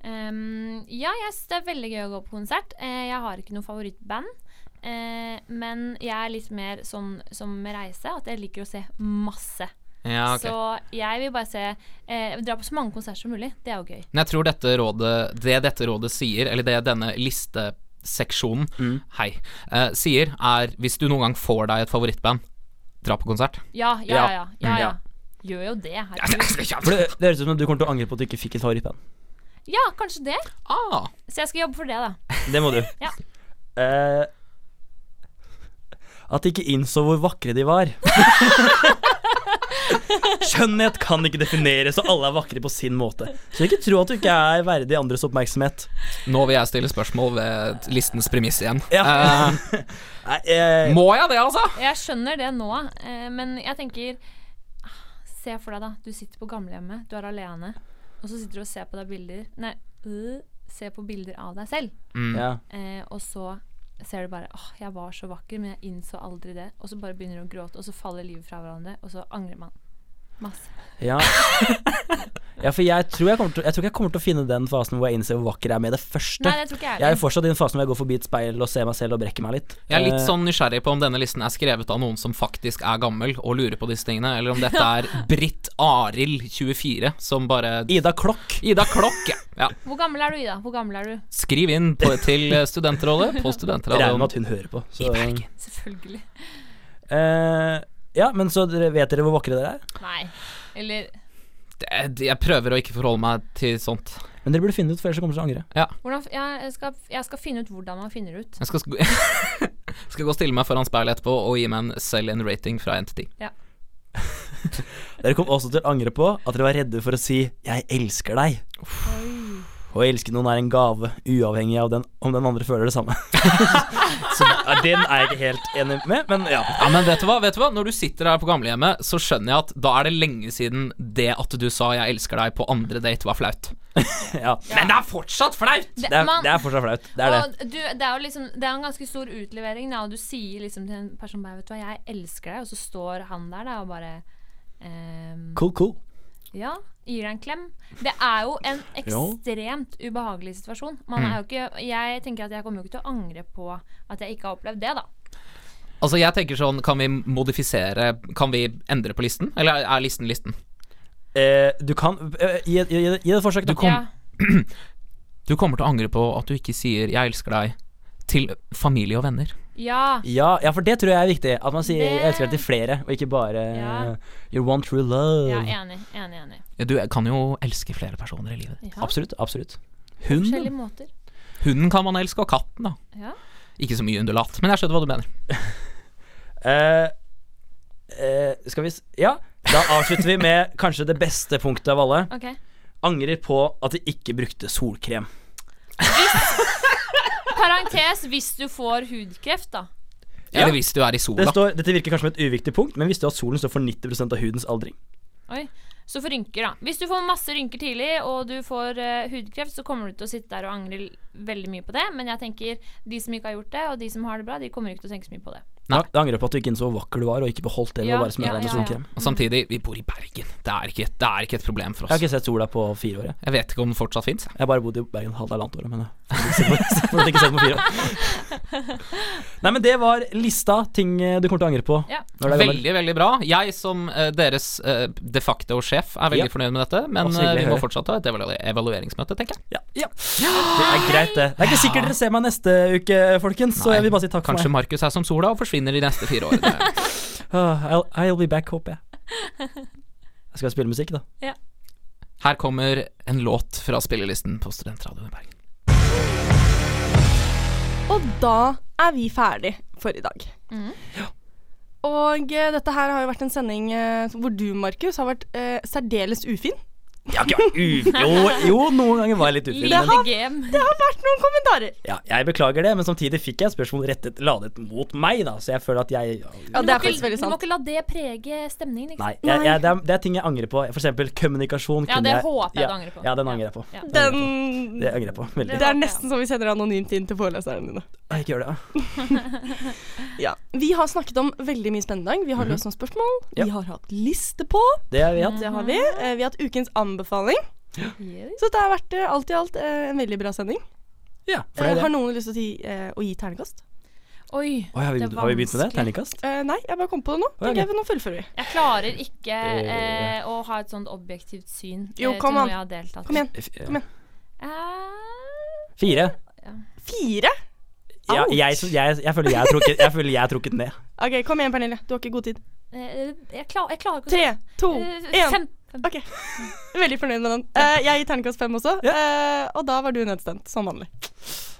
[SPEAKER 5] Ehm, ja, jeg synes det er veldig gøy å gå på konsert. Eh, jeg har ikke noe favorittband. eh, men jeg er litt mer sånn som med reise, at jeg liker å se masse.
[SPEAKER 9] Ja, Ah, ok.
[SPEAKER 5] Så jeg vil bare se eh, Dra på så mange konserter som mulig. Det er jo gøy.
[SPEAKER 9] Men jeg tror dette rådet, det dette rådet sier, eller det denne listeseksjonen
[SPEAKER 4] Mm.
[SPEAKER 9] hei, eh, sier, er hvis du noen gang får deg et favorittband, dra på konsert.
[SPEAKER 5] Ja, ja, ja. ja, ja,
[SPEAKER 9] Ja.
[SPEAKER 5] Gjør jo det. Herregud.
[SPEAKER 4] For
[SPEAKER 9] ah,
[SPEAKER 4] det, liksom det høres ut som om du kommer til å angre på at du ikke fikk et favorittband.
[SPEAKER 5] Ja, kanskje det.
[SPEAKER 9] Ah!
[SPEAKER 5] Så jeg skal jobbe for det, da.
[SPEAKER 4] Det må du.
[SPEAKER 5] Ja.
[SPEAKER 4] Eh, at de ikke innså hvor vakre de var.
[SPEAKER 10] Skjønnhet kan ikke defineres, og alle er vakre på sin måte. Så ikke tro at du ikke er verdig andres oppmerksomhet.
[SPEAKER 9] nå vil jeg stille spørsmål ved listens premiss igjen.
[SPEAKER 10] Ja.
[SPEAKER 9] Eh,
[SPEAKER 10] Nei, eh,
[SPEAKER 9] må jeg det, altså?
[SPEAKER 5] Jeg skjønner det nå, eh, men jeg tenker ah, Se for deg, da. Du sitter på gamlehjemmet, du er alene, og så sitter du og ser på deg bilder Nei, øh, ser på bilder av deg selv,
[SPEAKER 9] Mm.
[SPEAKER 4] Ja.
[SPEAKER 5] eh, og så ser du bare åh, jeg var så vakker, men jeg innså aldri det. Og så bare begynner du å gråte, og så faller livet fra hverandre, og så angrer man. Masse.
[SPEAKER 4] Ja. ja, for jeg tror jeg, kommer til, jeg tror ikke jeg kommer til å finne den fasen hvor jeg innser hvor vakker jeg er med det første.
[SPEAKER 5] Nei, det tror ikke jeg
[SPEAKER 4] jeg er
[SPEAKER 5] heller.
[SPEAKER 4] fortsatt i den fasen hvor jeg går forbi et speil og ser meg selv og brekker meg litt.
[SPEAKER 9] Jeg er litt
[SPEAKER 4] Eh,
[SPEAKER 9] sånn nysgjerrig på om denne listen er skrevet av noen som faktisk er gammel og lurer på disse tingene, eller om dette er Britt Arild, 24, som bare
[SPEAKER 4] Ida Klokk.
[SPEAKER 9] Ida Klokk, ja. ja.
[SPEAKER 5] Hvor gammel er du, Ida? Hvor gammel er du?
[SPEAKER 9] Skriv inn på, til Studentrådet på
[SPEAKER 4] Regner med
[SPEAKER 9] Studentradioen.
[SPEAKER 4] at hun hører på. Så,
[SPEAKER 5] Selvfølgelig.
[SPEAKER 4] eh, ja, men så dere, vet dere hvor vakre dere er?
[SPEAKER 5] Nei. Eller
[SPEAKER 9] Det- Jeg prøver å ikke forholde meg til sånt.
[SPEAKER 4] Men dere burde finne det ut, for ellers så kommer dere til å angre.
[SPEAKER 5] hvordan f- jeg skal, jeg skal finne ut hvordan man finner ut.
[SPEAKER 9] Jeg skal, sk- skal gå og stille meg foran speilet etterpå og gi meg en sell-in rating fra 1 til 10.
[SPEAKER 4] Dere kom også til å angre på at dere var redde for å si 'jeg elsker deg'. Og å elske noen er en gave, uavhengig av den, om den andre føler det samme. så ja, den er jeg ikke helt enig med, men ja.
[SPEAKER 9] Ja, men vet du hva? vet du hva? Når du sitter her på gamlehjemmet, så skjønner jeg at da er det lenge siden det at du sa 'jeg elsker deg' på andre date var flaut.
[SPEAKER 4] ja.
[SPEAKER 9] Men det er fortsatt flaut!
[SPEAKER 5] Det-
[SPEAKER 4] Det, er,
[SPEAKER 5] man-
[SPEAKER 4] det er fortsatt flaut. Det er det.
[SPEAKER 5] Og du, det er jo liksom Det er jo en ganske stor utlevering, da, og du sier liksom til en person bare, Vet du hva, jeg elsker deg, og så står han der da og bare ehm,
[SPEAKER 4] Cool, cool.
[SPEAKER 5] Ja, gir deg en klem. Det er jo en ekstremt ubehagelig situasjon. Man
[SPEAKER 4] Mm.
[SPEAKER 5] er jo ikke Jeg tenker at jeg kommer jo ikke til å angre på at jeg ikke har opplevd det, da.
[SPEAKER 9] Altså, jeg tenker sånn, kan vi modifisere Kan vi endre på listen? Eller er listen listen?
[SPEAKER 4] Eh, du kan eh, Gi gi- gi- gi det et forsøk. da.
[SPEAKER 5] Ja.
[SPEAKER 9] Du kommer til å angre på at du ikke sier 'jeg elsker deg' til familie og venner.
[SPEAKER 5] ja.
[SPEAKER 4] Ja, ja, for det tror jeg er viktig. At man sier
[SPEAKER 5] Det-
[SPEAKER 4] 'jeg elsker deg' til flere, og ikke bare
[SPEAKER 5] Ja.
[SPEAKER 4] 'your one true love'.
[SPEAKER 5] Ja, enig, enig, enig.
[SPEAKER 9] Du kan jo elske flere personer i livet.
[SPEAKER 5] Ja.
[SPEAKER 4] Absolutt. absolutt Hun
[SPEAKER 5] Forskjellige måter.
[SPEAKER 9] Hunden kan man elske, og katten, da.
[SPEAKER 5] Ja.
[SPEAKER 9] Ikke så mye undulat, men jeg skjønner hva du mener.
[SPEAKER 4] eh, eh, Skal vi s... Ja. Da avslutter vi med kanskje det beste punktet av alle.
[SPEAKER 5] Ok.
[SPEAKER 4] Angrer på at de ikke brukte solkrem.
[SPEAKER 5] Parentes hvis du får hudkreft, da.
[SPEAKER 4] Ja.
[SPEAKER 9] Eller hvis du er i sola.
[SPEAKER 4] Det står, dette virker kanskje som et uviktig punkt, men visste du at solen står for 90 av hudens aldring?
[SPEAKER 5] Oi. Så for rynker, da. Hvis du får masse rynker tidlig, og du får eh, hudkreft, så kommer du til å sitte der og angre l- veldig mye på det. Men jeg tenker de som ikke har gjort det, og de som har det bra, de kommer ikke til å tenke så mye på det.
[SPEAKER 9] Nei.
[SPEAKER 4] Ja, Du angrer på at du ikke innså hvor vakker du var, og ikke beholdt det.
[SPEAKER 5] Ja,
[SPEAKER 4] og bare smørte
[SPEAKER 5] ja,
[SPEAKER 4] deg med
[SPEAKER 5] ja, ja.
[SPEAKER 4] solkrem
[SPEAKER 9] Og samtidig, vi bor i Bergen. Det er ikke, det er ikke et problem for
[SPEAKER 4] Jeg har
[SPEAKER 9] oss.
[SPEAKER 4] ikke sett sola på fire år. Jeg,
[SPEAKER 9] Jeg vet ikke om den fortsatt fins.
[SPEAKER 4] jeg har bare bodd i Bergen halvannet året, men jeg har ikke sett på fire år. Nei, men det var lista ting eh, du kommer til å angre på.
[SPEAKER 5] Ja.
[SPEAKER 4] Når du er gammel.
[SPEAKER 9] Veldig, veldig bra. Jeg som eh, deres eh, de facto sjef er veldig
[SPEAKER 4] Ja.
[SPEAKER 9] fornøyd med dette,
[SPEAKER 4] Å,
[SPEAKER 9] men
[SPEAKER 4] så hyggelig
[SPEAKER 9] eh, vi
[SPEAKER 4] å
[SPEAKER 9] må
[SPEAKER 4] høre.
[SPEAKER 9] fortsatt ha et evalu- evalueringsmøte, tenker jeg.
[SPEAKER 4] Ja. ja. Det er greit, det. Det er ikke sikkert dere ser meg neste uke, folkens, så
[SPEAKER 9] Nei,
[SPEAKER 4] jeg vil bare si takk for
[SPEAKER 9] Kanskje
[SPEAKER 4] meg.
[SPEAKER 9] Markus er som sola og forsvinner de neste fire årene.
[SPEAKER 4] Ah, I'll, I'll be back, håper jeg. Jeg skal spille musikk, da.
[SPEAKER 9] Her kommer en låt fra spillelisten på Studentradioen i Bergen.
[SPEAKER 3] Og da er vi ferdig for i dag.
[SPEAKER 5] Mhm.
[SPEAKER 3] Ja. Og eh, dette her har jo vært en sending eh, hvor du, Markus, har vært eh, særdeles ufin.
[SPEAKER 4] Jeg har ikke vært ufri. Jo, jo, noen ganger var jeg litt ufri. Men
[SPEAKER 5] Lite gem.
[SPEAKER 3] Det har vært noen kommentarer.
[SPEAKER 4] ja, jeg beklager det, men samtidig fikk jeg spørsmål rettet ladet mot meg, da, så jeg føler at jeg
[SPEAKER 3] Ja,
[SPEAKER 5] Du
[SPEAKER 3] det
[SPEAKER 5] må
[SPEAKER 3] er faktisk
[SPEAKER 5] ikke-
[SPEAKER 3] veldig
[SPEAKER 5] Du må
[SPEAKER 3] sant.
[SPEAKER 5] ikke la det prege stemningen. Ikke?
[SPEAKER 4] Nei,
[SPEAKER 5] sant?
[SPEAKER 4] jeg, jeg, det, er, det er ting jeg angrer på. For eksempel kommunikasjon.
[SPEAKER 5] Ja,
[SPEAKER 4] kunne
[SPEAKER 5] det håper jeg du angrer på.
[SPEAKER 4] Ja, den
[SPEAKER 5] Ja.
[SPEAKER 4] angrer jeg på.
[SPEAKER 5] Ja.
[SPEAKER 4] Den angrer jeg på.
[SPEAKER 3] Den
[SPEAKER 4] Det angrer jeg på veldig.
[SPEAKER 3] Det er nesten som vi sender anonymt inn til foreleserne dine.
[SPEAKER 4] Å, Ikke gjør det. ja.
[SPEAKER 3] Ja. Vi har snakket om veldig mye spennende i dag. Vi har løst noen spørsmål.
[SPEAKER 4] Mhm. Ja.
[SPEAKER 3] Vi har hatt liste på.
[SPEAKER 4] Det har vi hatt.
[SPEAKER 5] Mm.
[SPEAKER 3] Det har vi. Eh, Vi har hatt ukens anbefaling.
[SPEAKER 5] Yes.
[SPEAKER 3] Så det har vært eh, alt i alt eh, en veldig bra sending.
[SPEAKER 4] Ja, for det
[SPEAKER 3] Eh,
[SPEAKER 4] er
[SPEAKER 3] Har
[SPEAKER 4] det.
[SPEAKER 3] noen lyst til å, ti, eh, å gi ternekast?
[SPEAKER 5] Oi,
[SPEAKER 4] Oi, har, vi,
[SPEAKER 5] det er
[SPEAKER 4] har vi begynt med det?
[SPEAKER 5] vanskelig.
[SPEAKER 4] Terningkast?
[SPEAKER 3] Eh, nei, jeg bare kom på det nå.
[SPEAKER 4] ok.
[SPEAKER 3] Tenker jeg, Nå fullfører vi.
[SPEAKER 5] Jeg klarer ikke eh, å ha et sånt objektivt syn
[SPEAKER 3] Jo,
[SPEAKER 5] eh,
[SPEAKER 3] kom
[SPEAKER 5] til
[SPEAKER 3] an.
[SPEAKER 5] noe jeg har deltatt
[SPEAKER 3] Kom igjen.
[SPEAKER 4] F-
[SPEAKER 3] Kom igjen.
[SPEAKER 5] Eh,
[SPEAKER 4] Fire.
[SPEAKER 3] Fire?
[SPEAKER 4] Ja, jeg, jeg, jeg, føler jeg er trukket, jeg føler jeg er trukket ned.
[SPEAKER 3] OK, kom igjen, Pernille. Du har ikke god tid.
[SPEAKER 5] eh, jeg, klar, jeg klarer ikke
[SPEAKER 3] Tre, to,
[SPEAKER 5] Eh,
[SPEAKER 3] én.
[SPEAKER 5] fem. Fem.
[SPEAKER 3] OK. Veldig fornøyd med den. Eh, jeg gir ternekast fem også, eh, og da var du nedstemt, som vanlig.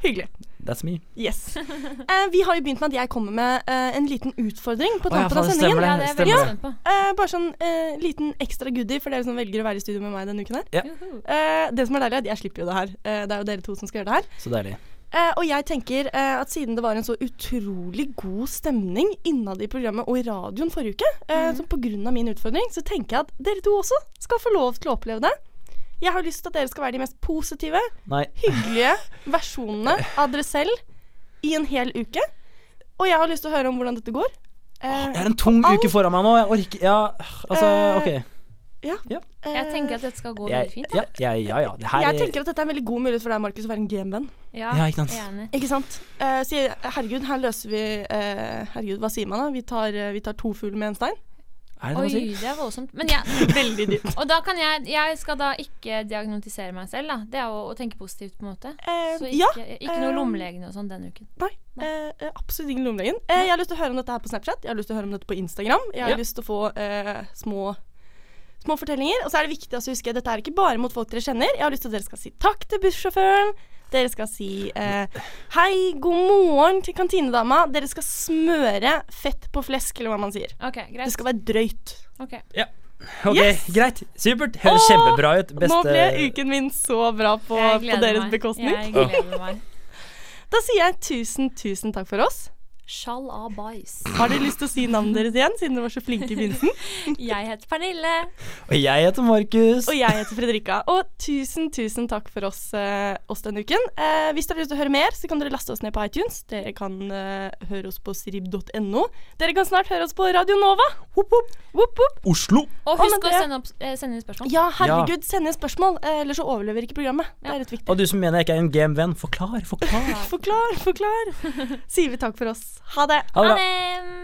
[SPEAKER 3] Hyggelig.
[SPEAKER 4] That's me.
[SPEAKER 3] Yes. Eh, vi har jo begynt med at jeg kommer med eh, en liten utfordring
[SPEAKER 4] Å,
[SPEAKER 3] på
[SPEAKER 4] ja,
[SPEAKER 3] tampen av
[SPEAKER 4] faen,
[SPEAKER 3] sendingen.
[SPEAKER 4] stemmer
[SPEAKER 5] Ja, det er jeg veldig
[SPEAKER 4] Stemmer det.
[SPEAKER 5] spent på.
[SPEAKER 3] Eh, bare sånn eh, liten ekstra goodie for dere som velger å være i studio med meg denne uken her.
[SPEAKER 5] Juhu.
[SPEAKER 3] Eh, det som er deilig, er at jeg slipper jo det her. Eh, det er jo dere to som skal gjøre det her.
[SPEAKER 4] Så deilig.
[SPEAKER 3] Eh, og jeg tenker eh, at siden det var en så utrolig god stemning innad i programmet og i radioen forrige uke, eh, så på grunn av min utfordring, så tenker jeg at dere to også skal få lov til å oppleve det. Jeg har lyst til at dere skal være de mest positive,
[SPEAKER 4] Nei.
[SPEAKER 3] hyggelige versjonene av dere selv i en hel uke. Og jeg har lyst til å høre om hvordan dette går. Eh,
[SPEAKER 4] Det er en tung
[SPEAKER 3] Au. Eh,
[SPEAKER 4] uke foran meg nå. Jeg orker Ja, altså, OK.
[SPEAKER 5] Jeg tenker at dette skal gå
[SPEAKER 4] Jeg,
[SPEAKER 5] veldig fint.
[SPEAKER 4] ja, jeg, ja, ja. Det her
[SPEAKER 3] jeg tenker at dette er en veldig god mulighet for deg, Markus, å være en gamevenn.
[SPEAKER 5] Ja,
[SPEAKER 4] Ja, ikke sant.
[SPEAKER 5] enig.
[SPEAKER 3] Ikke sant? Eh, så jeg, herregud, her løser vi eh, Herregud, hva sier man da? Vi tar, eh, vi tar to fugler med en stein.
[SPEAKER 4] Er det det
[SPEAKER 5] Oi,
[SPEAKER 4] man sier?
[SPEAKER 5] det er voldsomt. Men jeg,
[SPEAKER 3] Veldig dypt.
[SPEAKER 5] Og da kan jeg Jeg skal da ikke diagnotisere meg selv, da. Det er jo å tenke positivt, på en måte.
[SPEAKER 3] Eh,
[SPEAKER 5] Så ikke,
[SPEAKER 3] ja.
[SPEAKER 5] ikke noe
[SPEAKER 3] eh,
[SPEAKER 5] lommelegen og sånn denne uken.
[SPEAKER 3] Nei. eh, eh, absolutt ingen lommelegen. Eh, jeg har lyst til å høre om dette her på Snapchat. Jeg har lyst til å høre om dette på Instagram. Jeg har
[SPEAKER 4] Ja.
[SPEAKER 3] lyst til å få eh, små Små fortellinger. Og så er det viktig også å huske at dette er ikke bare mot folk dere kjenner. Jeg har lyst til at dere skal si takk til bussjåføren. Dere skal si eh, hei, god morgen til kantinedama. Dere skal smøre fett på flesk, eller hva man sier.
[SPEAKER 5] OK,
[SPEAKER 3] Det
[SPEAKER 5] greit.
[SPEAKER 3] skal være drøyt.
[SPEAKER 5] Ok.
[SPEAKER 4] OK,
[SPEAKER 3] Yes!
[SPEAKER 4] greit. Supert. Høres
[SPEAKER 3] Åh,
[SPEAKER 4] kjempebra ut.
[SPEAKER 3] Nå ble
[SPEAKER 4] Beste
[SPEAKER 3] uken min så bra på,
[SPEAKER 5] Jeg
[SPEAKER 3] på
[SPEAKER 5] gleder
[SPEAKER 3] deres
[SPEAKER 5] meg.
[SPEAKER 3] bekostning.
[SPEAKER 5] Jeg gleder meg.
[SPEAKER 3] Da sier jeg tusen, tusen takk for oss.
[SPEAKER 5] Shalabais.
[SPEAKER 3] Har dere lyst til å si navnet deres igjen, siden dere var så flinke i begynnelsen?
[SPEAKER 5] Jeg heter Pernille.
[SPEAKER 4] Og jeg heter Markus.
[SPEAKER 3] Og jeg heter Fredrikka. Og tusen, tusen takk for oss, eh, oss denne uken. Eh, hvis dere har lyst til å høre mer, så kan dere laste oss ned på iTunes. Dere kan eh, høre oss på srib.no. Dere kan snart høre oss på Radio Nova. Hopp, hopp. Hopp, hopp.
[SPEAKER 4] Oslo.
[SPEAKER 5] Og
[SPEAKER 3] men
[SPEAKER 5] husk å
[SPEAKER 3] det-
[SPEAKER 5] sende, opp, eh, sende inn spørsmål.
[SPEAKER 3] Ja, herregud, send inn spørsmål, eh, ellers så overlever ikke programmet. Det er litt viktig.
[SPEAKER 4] Og du som mener jeg ikke er en game venn, forklar, forklar.
[SPEAKER 3] Forklar, forklar. Sier vi takk for oss. Ha det.
[SPEAKER 4] Ha det bra.
[SPEAKER 5] Ha det.